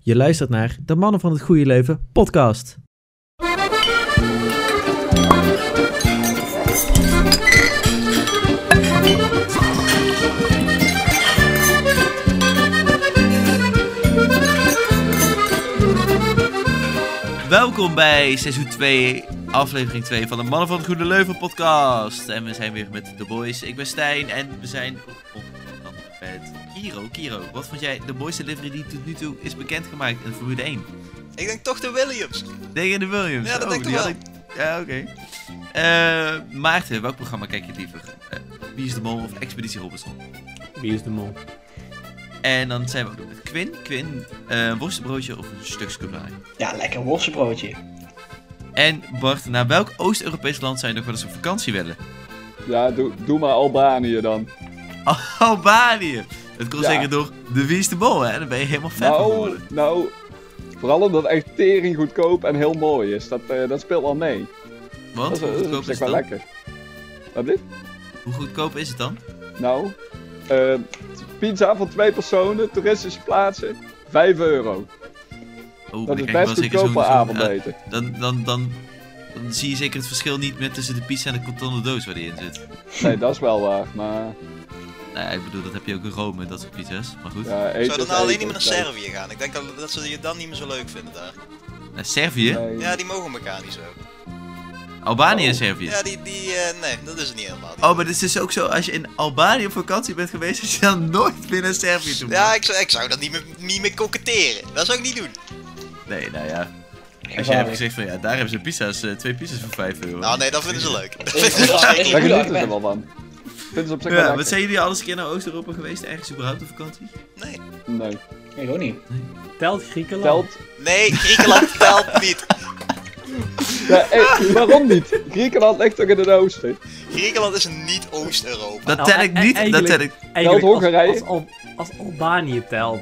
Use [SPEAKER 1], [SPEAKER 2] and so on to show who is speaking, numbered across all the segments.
[SPEAKER 1] Je luistert naar de Mannen van het Goede Leven podcast.
[SPEAKER 2] Welkom bij seizoen 2, aflevering 2 van de Mannen van het Goede Leuven podcast. En we zijn weer met The Boys. Ik ben Stijn en we zijn op met Kiro. Kiro, wat vond jij de mooiste livery die tot nu toe is bekendgemaakt in Formule 1?
[SPEAKER 3] Ik denk toch de Williams.
[SPEAKER 2] Tegen de Williams. Oh,
[SPEAKER 3] Ja, dat denk ik
[SPEAKER 2] die
[SPEAKER 3] toch
[SPEAKER 2] had ik- Ja, oké. Eh, Maarten, welk programma kijk je liever? Eh, Wie is de Mol of Expeditie Robinson?
[SPEAKER 4] Wie is de mol?
[SPEAKER 2] En dan zijn we ook nog met Quinn. Quinn, eh, een worstenbroodje of een stuk scoublai?
[SPEAKER 5] Ja, lekker worstenbroodje.
[SPEAKER 2] En Bart, naar welk Oost-Europees land zou je nog wel eens op vakantie willen?
[SPEAKER 4] Ja, doe, doe maar Albanië dan.
[SPEAKER 2] Albanië. Het komt
[SPEAKER 4] Ja.
[SPEAKER 2] zeker door de Wie is de Mol, hè? Dan ben je helemaal fan van
[SPEAKER 4] Nou,
[SPEAKER 2] geworden.
[SPEAKER 4] nou, vooral omdat echt tering goedkoop en heel mooi is. Dat, eh, dat speelt al mee.
[SPEAKER 2] Want
[SPEAKER 4] Dat
[SPEAKER 2] hoe
[SPEAKER 4] is, dat is op
[SPEAKER 2] goedkoop is het
[SPEAKER 4] zich wel
[SPEAKER 2] dan?
[SPEAKER 4] lekker. Wat dit?
[SPEAKER 2] Hoe goedkoop is het dan?
[SPEAKER 4] Nou, eh, pizza voor twee personen, toeristische plaatsen, 5 euro.
[SPEAKER 2] Oh,
[SPEAKER 4] Dat
[SPEAKER 2] dan
[SPEAKER 4] is
[SPEAKER 2] krijg je
[SPEAKER 4] best
[SPEAKER 2] wel zeker zo'n-
[SPEAKER 4] goedkoop voor
[SPEAKER 2] zo'n- ah,
[SPEAKER 4] avondeten.
[SPEAKER 2] dan, dan, dan, dan zie je zeker het verschil niet meer tussen de pizza en de kartonnen doos waar die in zit.
[SPEAKER 4] Nee, dat is wel waar, maar
[SPEAKER 2] Nou ja, ik bedoel, dat heb je ook in Rome, dat soort pizza's. Maar goed.
[SPEAKER 4] ja, eten
[SPEAKER 3] Zou dan
[SPEAKER 4] is
[SPEAKER 3] nou alleen
[SPEAKER 4] eten,
[SPEAKER 3] niet meer naar
[SPEAKER 4] dus nee.
[SPEAKER 3] Servië gaan? Ik denk dat, dat ze je dan niet meer zo leuk vinden daar.
[SPEAKER 2] Nou, Servië?
[SPEAKER 4] Nee.
[SPEAKER 3] Ja, die mogen elkaar niet zo.
[SPEAKER 2] Albanië en
[SPEAKER 4] Oh.
[SPEAKER 2] Servië?
[SPEAKER 3] Ja, die, die eh, nee, dat is het niet helemaal. Die-
[SPEAKER 2] Oh, maar het is dus ook zo, als je in Albanië op vakantie bent geweest, dat je dan nooit meer naar Servië toe
[SPEAKER 3] Ja, ik zou, ik zou dat niet meer, niet meer koketteren. Dat zou ik niet doen.
[SPEAKER 2] Nee, nou ja. Als jij hebt
[SPEAKER 5] Gevaarlijk.
[SPEAKER 2] gezegd van, ja, daar hebben ze pizza's, eh, twee pizza's voor 5 euro.
[SPEAKER 3] Nou nee, dat vinden ze leuk. Dat
[SPEAKER 5] Ik
[SPEAKER 3] vinden ze
[SPEAKER 5] moet
[SPEAKER 3] zeker
[SPEAKER 5] echt-
[SPEAKER 4] Daar
[SPEAKER 3] leuk.
[SPEAKER 4] genieten ze wel van. Vinden ze op zich wel
[SPEAKER 2] Ja,
[SPEAKER 4] lekker.
[SPEAKER 2] wat zijn jullie alles een keer naar Oost-Europa geweest? Ergens überhaupt op vakantie?
[SPEAKER 3] Nee.
[SPEAKER 4] Nee.
[SPEAKER 5] Ik ook niet.
[SPEAKER 6] Telt Griekenland?
[SPEAKER 4] Telt
[SPEAKER 3] Nee, Griekenland telt niet.
[SPEAKER 4] Ja, hé, waarom niet? Griekenland ligt toch in het oosten?
[SPEAKER 3] Griekenland is niet Oost-Europa.
[SPEAKER 2] Dat
[SPEAKER 6] Nou,
[SPEAKER 2] tel ik
[SPEAKER 6] e- e-
[SPEAKER 2] niet, dat
[SPEAKER 6] eigenlijk-
[SPEAKER 2] tel ik...
[SPEAKER 6] Eigenlijk
[SPEAKER 4] Telt
[SPEAKER 6] als-
[SPEAKER 4] Hongarije?
[SPEAKER 6] Als, Al- als Albanië telt.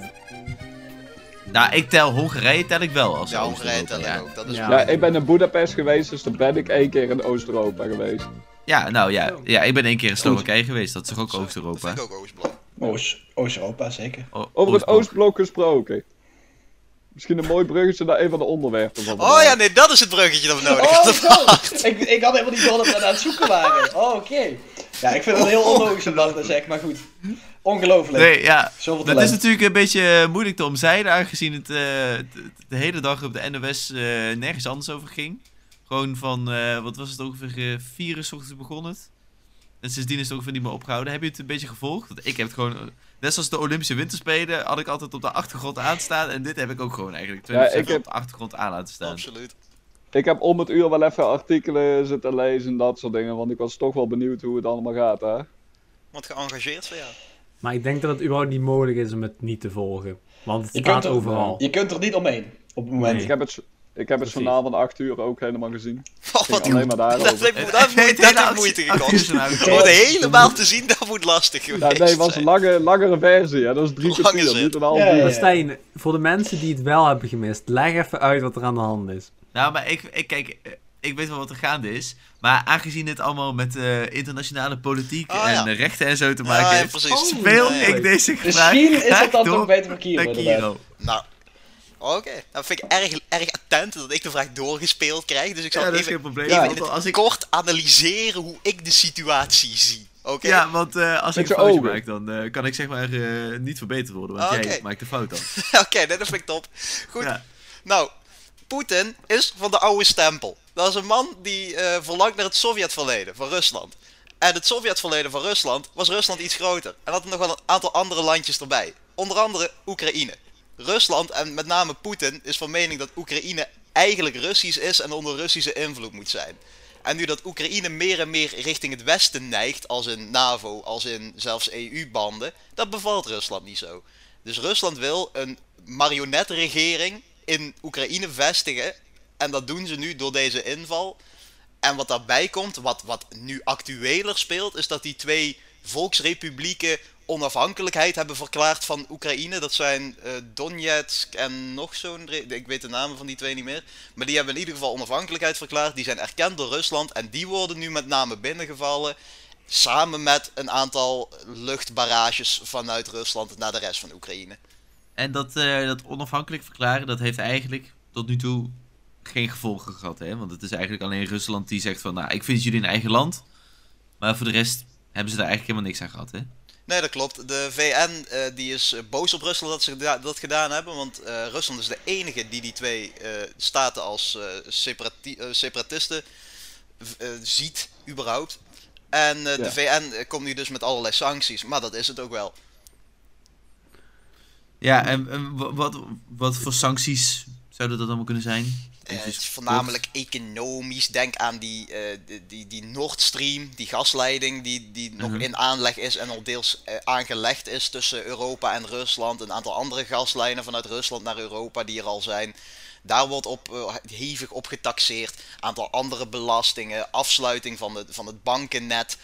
[SPEAKER 2] Nou, ik tel Hongarije tel ik wel als
[SPEAKER 3] Ja, Hongarije
[SPEAKER 2] Oost-Europa,
[SPEAKER 3] telt
[SPEAKER 2] ja.
[SPEAKER 3] ook. Dat is
[SPEAKER 6] Ja.
[SPEAKER 4] Ja, ik ben naar Budapest geweest, dus dan ben ik één keer in Oost-Europa geweest.
[SPEAKER 2] Ja, nou ja. Ja, ik ben één keer in Slowakije geweest. Dat is toch ook Oost-Europa? Oh,
[SPEAKER 3] Dat vind ik ook Oostblok.
[SPEAKER 5] Oost- Oost-Europa, zeker.
[SPEAKER 2] O-
[SPEAKER 4] Over het
[SPEAKER 2] Oostblok.
[SPEAKER 4] Oostblok gesproken. Misschien een mooi bruggetje naar een van de onderwerpen van
[SPEAKER 3] Oh
[SPEAKER 4] vandaag.
[SPEAKER 3] ja, nee, dat is het bruggetje dat we nodig
[SPEAKER 5] Oh,
[SPEAKER 3] hadden.
[SPEAKER 5] zo! Ik, ik had helemaal niet door dat we dat aan het zoeken waren. Oh, oké. Ja, ik vind het
[SPEAKER 3] Oh.
[SPEAKER 5] heel onlogisch om dat te zeggen, maar goed. Ongelooflijk.
[SPEAKER 2] Nee, ja.
[SPEAKER 5] Zoveel
[SPEAKER 2] Dat is
[SPEAKER 5] talent.
[SPEAKER 2] natuurlijk een beetje eh, moeilijk te omzeilen, aangezien het eh, t- t- de hele dag op de NOS eh, nergens anders over ging. Gewoon van, eh, wat was het ongeveer, eh, vier uur 's ochtends begon het. En sindsdien is het ongeveer niet meer opgehouden. Heb je het een beetje gevolgd? Want ik heb het gewoon, eh, net zoals de Olympische Winterspelen, had ik altijd op de achtergrond aanstaan. En dit heb ik ook gewoon eigenlijk 24/7
[SPEAKER 4] ik heb-
[SPEAKER 2] op de achtergrond aan laten staan.
[SPEAKER 3] Absoluut.
[SPEAKER 4] Ik heb om het uur wel even artikelen zitten lezen en dat soort dingen, want ik was toch wel benieuwd hoe het allemaal gaat, hè?
[SPEAKER 3] Want geëngageerd van jou.
[SPEAKER 6] Maar ik denk dat het überhaupt niet mogelijk is om het niet te volgen. Want het
[SPEAKER 5] Je kunt
[SPEAKER 6] staat
[SPEAKER 5] er-
[SPEAKER 6] overal.
[SPEAKER 5] Je kunt er niet omheen, op het moment.
[SPEAKER 4] Ik heb het, ik heb het
[SPEAKER 6] Precies.
[SPEAKER 4] journaal van 8 uur ook helemaal gezien.
[SPEAKER 3] Oh,
[SPEAKER 4] Ging
[SPEAKER 3] wat
[SPEAKER 4] alleen maar
[SPEAKER 3] Dat
[SPEAKER 4] daarover.
[SPEAKER 3] heeft, dat
[SPEAKER 2] Nee,
[SPEAKER 3] heeft,
[SPEAKER 2] de hele
[SPEAKER 3] dat heeft
[SPEAKER 2] actie-
[SPEAKER 3] moeite
[SPEAKER 2] actie is
[SPEAKER 3] gekost.
[SPEAKER 2] er nou
[SPEAKER 3] Om het
[SPEAKER 2] gekomen.
[SPEAKER 3] helemaal te zien, dat moet lastig geweest
[SPEAKER 4] Ja, nee, het was een
[SPEAKER 3] zijn.
[SPEAKER 4] lange, langere versie, hè? Dat is drie
[SPEAKER 3] Hoe lang is
[SPEAKER 4] kwartier,
[SPEAKER 3] het?
[SPEAKER 4] niet een half
[SPEAKER 5] Ja,
[SPEAKER 4] uur.
[SPEAKER 5] ja.
[SPEAKER 6] Maar Stijn, voor de mensen die het wel hebben gemist, leg even uit wat er aan de hand is.
[SPEAKER 2] Nou, maar ik, ik kijk, eh, ik weet wel wat er gaande is. Maar aangezien dit allemaal met eh, internationale politiek
[SPEAKER 3] Ah,
[SPEAKER 2] en
[SPEAKER 3] ja.
[SPEAKER 2] eh, rechten en zo te
[SPEAKER 3] Ja,
[SPEAKER 2] maken
[SPEAKER 3] ja,
[SPEAKER 2] heeft,
[SPEAKER 3] precies.
[SPEAKER 2] speel
[SPEAKER 3] Ja, ja.
[SPEAKER 2] ik deze vraag
[SPEAKER 5] Misschien is
[SPEAKER 2] graag
[SPEAKER 5] het dan toch
[SPEAKER 2] door
[SPEAKER 5] beter voor Kiro,
[SPEAKER 2] naar
[SPEAKER 5] inderdaad.
[SPEAKER 2] Kiro.
[SPEAKER 3] Nou, oké. Dat vind ik erg, erg attent dat ik de vraag doorgespeeld krijg. Dus ik zal
[SPEAKER 2] Ja, dat is
[SPEAKER 3] even,
[SPEAKER 2] geen probleem.
[SPEAKER 3] even
[SPEAKER 2] Ja,
[SPEAKER 3] in
[SPEAKER 2] want
[SPEAKER 3] het
[SPEAKER 2] als ik,
[SPEAKER 3] kort analyseren hoe ik de situatie zie. Oké?
[SPEAKER 2] ja, want eh, als
[SPEAKER 4] Met
[SPEAKER 2] ik een
[SPEAKER 4] je
[SPEAKER 2] foutje
[SPEAKER 4] ogen.
[SPEAKER 2] maak, dan eh, kan ik zeg maar eh, niet verbeterd worden. Want
[SPEAKER 3] Ah,
[SPEAKER 2] jij
[SPEAKER 3] oké.
[SPEAKER 2] maakt de fout dan.
[SPEAKER 3] oké, nee, dat vind ik top. Goed.
[SPEAKER 2] Ja.
[SPEAKER 3] Nou, Poetin is van de oude stempel. Dat is een man die eh, verlangt naar het Sovjetverleden van Rusland. En het Sovjetverleden van Rusland was Rusland iets groter. En had nog wel een aantal andere landjes erbij. Onder andere Oekraïne. Rusland en met name Poetin is van mening dat Oekraïne eigenlijk Russisch is en onder Russische invloed moet zijn. En nu dat Oekraïne meer en meer richting het westen neigt, als in NAVO, als in zelfs EU-banden, dat bevalt Rusland niet zo. Dus Rusland wil een marionetregering in Oekraïne vestigen. En dat doen ze nu door deze inval. En wat daarbij komt, wat, wat nu actueler speelt, is dat die twee volksrepublieken onafhankelijkheid hebben verklaard van Oekraïne. Dat zijn eh, Donetsk en nog zo'n... re- Ik weet de namen van die twee niet meer. Maar die hebben in ieder geval onafhankelijkheid verklaard. Die zijn erkend door Rusland en die worden nu met name binnengevallen. Samen met een aantal luchtbarrages vanuit Rusland naar de rest van Oekraïne.
[SPEAKER 2] En dat, eh, dat onafhankelijk verklaren, dat heeft eigenlijk tot nu toe geen gevolgen gehad. Hè? Want het is eigenlijk alleen Rusland die zegt van, nou, ik vind jullie een eigen land. Maar voor de rest hebben ze daar eigenlijk helemaal niks aan gehad, hè?
[SPEAKER 3] Nee, dat klopt. De VN eh, die is eh, boos op Rusland dat ze geda- dat gedaan hebben. Want eh, Rusland is de enige die die twee eh, staten als eh, separati- eh, separatisten v- eh, ziet, überhaupt. En eh,
[SPEAKER 4] Ja.
[SPEAKER 3] de VN komt nu dus met allerlei sancties. Maar dat is het ook wel.
[SPEAKER 2] Ja, en, en wa- wat, wat voor sancties zouden dat allemaal kunnen zijn?
[SPEAKER 3] Eh,
[SPEAKER 2] Even
[SPEAKER 3] het is
[SPEAKER 2] kort.
[SPEAKER 3] voornamelijk economisch. Denk aan die, eh, die, die, die Nord Stream, die gasleiding die, die nog
[SPEAKER 2] Mhm.
[SPEAKER 3] in aanleg is en al deels eh, aangelegd is tussen Europa en Rusland. Een aantal andere gaslijnen vanuit Rusland naar Europa die er al zijn. Daar wordt op, eh, hevig op getaxeerd. Aantal andere belastingen, afsluiting van, de, van het bankennet.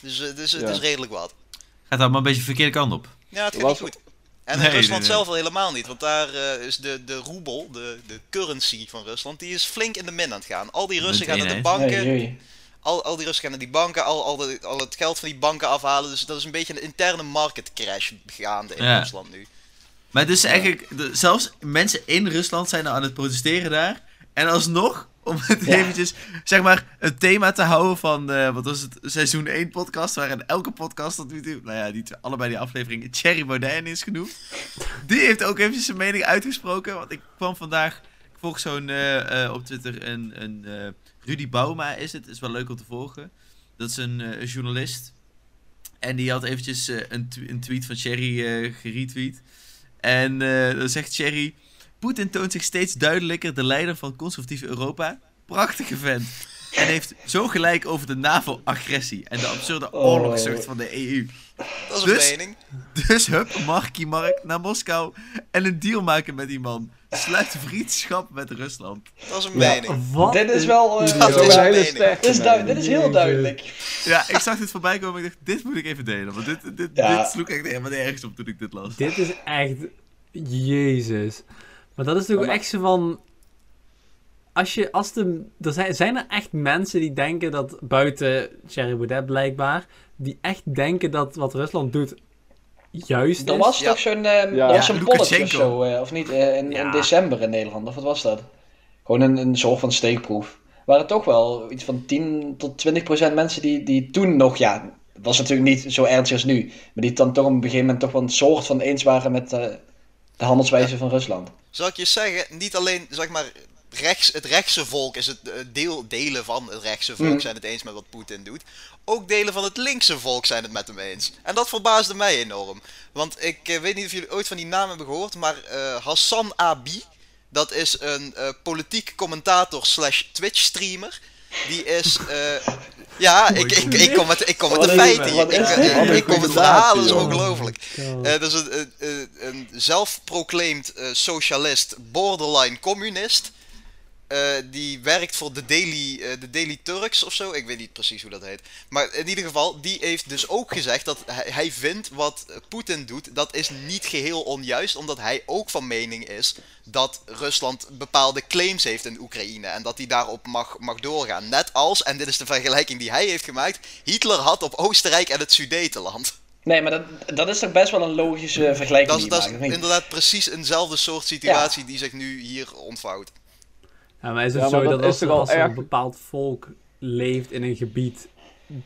[SPEAKER 3] Dus, eh, dus
[SPEAKER 4] Ja.
[SPEAKER 3] het is redelijk wat.
[SPEAKER 2] Gaat dat maar een beetje de verkeerde kant op.
[SPEAKER 3] Ja, het gaat
[SPEAKER 4] Was-
[SPEAKER 3] niet goed. En
[SPEAKER 2] Nee,
[SPEAKER 3] Rusland
[SPEAKER 2] nee, nee.
[SPEAKER 3] zelf al helemaal niet, want daar eh, is de, de roebel, de, de currency van Rusland, die is flink in de min aan het gaan. Al die Russen gaan naar de
[SPEAKER 2] één,
[SPEAKER 3] banken,
[SPEAKER 5] Nee, jee.
[SPEAKER 3] al, al die Russen gaan naar die banken, al, al, de- al het geld van die banken afhalen. Dus dat is een beetje een interne market crash gaande in
[SPEAKER 2] Ja.
[SPEAKER 3] Rusland nu.
[SPEAKER 2] Maar dus eigenlijk, de- zelfs mensen in Rusland zijn nou aan het protesteren daar. En alsnog, om het
[SPEAKER 5] Ja.
[SPEAKER 2] eventjes, zeg maar, een thema te houden van, eh, wat was het, seizoen 1 podcast, waar in elke podcast tot nu toe, nou ja, die, twee- allebei die afleveringen, Thierry Baudet is genoemd. Die heeft ook eventjes zijn mening uitgesproken, want ik kwam vandaag, ik volg zo'n, eh, eh, op Twitter, een, een eh, Rudy Bauma is het, is wel leuk om te volgen. Dat is een eh, journalist. En die had eventjes eh, een, tw- een tweet van Thierry eh, geretweet. En eh, dan zegt Thierry... Poetin toont zich steeds duidelijker de leider van conservatief Europa. Prachtige vent. En heeft zo gelijk over de NAVO-agressie en de absurde
[SPEAKER 5] Oh.
[SPEAKER 2] oorlogszucht van de EU.
[SPEAKER 3] Dat is een
[SPEAKER 2] Dus-
[SPEAKER 3] mening.
[SPEAKER 2] Dus hup, Markie Mark naar Moskou en een deal maken met die man. Sluit vriendschap met Rusland.
[SPEAKER 3] Dat is een
[SPEAKER 5] Ja.
[SPEAKER 3] mening.
[SPEAKER 6] Wat?
[SPEAKER 5] Dit is
[SPEAKER 6] een
[SPEAKER 5] wel, eh,
[SPEAKER 6] idioot.
[SPEAKER 3] Dat is
[SPEAKER 4] Dat is een hele
[SPEAKER 3] mening.
[SPEAKER 4] sterke
[SPEAKER 5] Dit is,
[SPEAKER 4] mening.
[SPEAKER 5] du- dit is heel duidelijk.
[SPEAKER 2] Ja, ik zag dit voorbij komen en ik dacht, dit moet ik even delen. Want dit, dit,
[SPEAKER 5] Ja.
[SPEAKER 2] dit sloeg echt helemaal nergens op toen ik dit las.
[SPEAKER 6] Dit is echt... Jezus. Maar dat is toch
[SPEAKER 4] Maar-
[SPEAKER 6] echt zo van... Als je, als de, er zijn, zijn er echt mensen die denken dat, buiten Thierry Baudet blijkbaar, die echt denken dat wat Rusland doet juist
[SPEAKER 5] Er
[SPEAKER 6] is?
[SPEAKER 5] was
[SPEAKER 3] Ja.
[SPEAKER 5] toch zo'n eh,
[SPEAKER 4] Ja.
[SPEAKER 5] er was zo'n polletje of
[SPEAKER 2] Lukashenko.
[SPEAKER 5] zo, eh, of niet, eh, in, in
[SPEAKER 6] Ja.
[SPEAKER 5] december in Nederland, of wat was dat? Gewoon een, een soort van steekproef. Waren toch wel iets van 10 tot 20 procent mensen die, die toen nog, ja, het was natuurlijk niet zo ernstig als nu, maar die het dan toch op een gegeven moment toch wel een soort van eens waren met eh, de handelswijze van Rusland.
[SPEAKER 3] Zal ik je zeggen, niet alleen zeg maar, rechts, het rechtse volk is het eh, deel, delen van het rechtse volk
[SPEAKER 5] Mhm.
[SPEAKER 3] zijn het eens met wat Poetin doet. Ook delen van het linkse volk zijn het met hem eens. En dat verbaasde mij enorm. Want ik eh, weet niet of jullie ooit van die naam hebben gehoord, maar eh, Hassan Abi, dat is een eh, politiek commentator slash Twitch streamer. Die is, eh, ja, ik, ik, ik kom met, ik kom met de
[SPEAKER 5] Wat is-
[SPEAKER 3] feiten. hier.
[SPEAKER 5] wat
[SPEAKER 3] Ik,
[SPEAKER 5] is
[SPEAKER 3] eh,
[SPEAKER 5] dit?
[SPEAKER 3] ik kom met
[SPEAKER 4] Goeie
[SPEAKER 3] verhalen, dat is
[SPEAKER 4] relatie, joh.
[SPEAKER 3] ongelooflijk.
[SPEAKER 6] God.
[SPEAKER 3] Eh, dat is een, een, een, een zelfproclaimed eh, socialist, borderline communist. Eh, die werkt voor de Daily, eh, de Daily Turks of zo. Ik weet niet precies hoe dat heet. Maar in ieder geval, die heeft dus ook gezegd dat hij, hij vindt wat eh, Poetin doet, dat is niet geheel onjuist. Omdat hij ook van mening is dat Rusland bepaalde claims heeft in Oekraïne. En dat hij daarop mag, mag doorgaan. Net als, en dit is de vergelijking die hij heeft gemaakt, Hitler had op Oostenrijk en het Sudetenland.
[SPEAKER 5] Nee, maar dat, dat is toch best wel een logische eh, vergelijking
[SPEAKER 3] Dat is,
[SPEAKER 5] die
[SPEAKER 3] dat
[SPEAKER 5] je
[SPEAKER 3] is
[SPEAKER 5] maakt, of niet?
[SPEAKER 3] inderdaad precies eenzelfde soort situatie die zich nu hier ontvouwt.
[SPEAKER 6] Ja, maar is het
[SPEAKER 4] Ja, maar
[SPEAKER 6] zo dat,
[SPEAKER 4] dat is
[SPEAKER 6] als,
[SPEAKER 4] toch
[SPEAKER 6] er,
[SPEAKER 4] al
[SPEAKER 6] als er
[SPEAKER 4] erg-
[SPEAKER 6] een bepaald volk leeft in een gebied,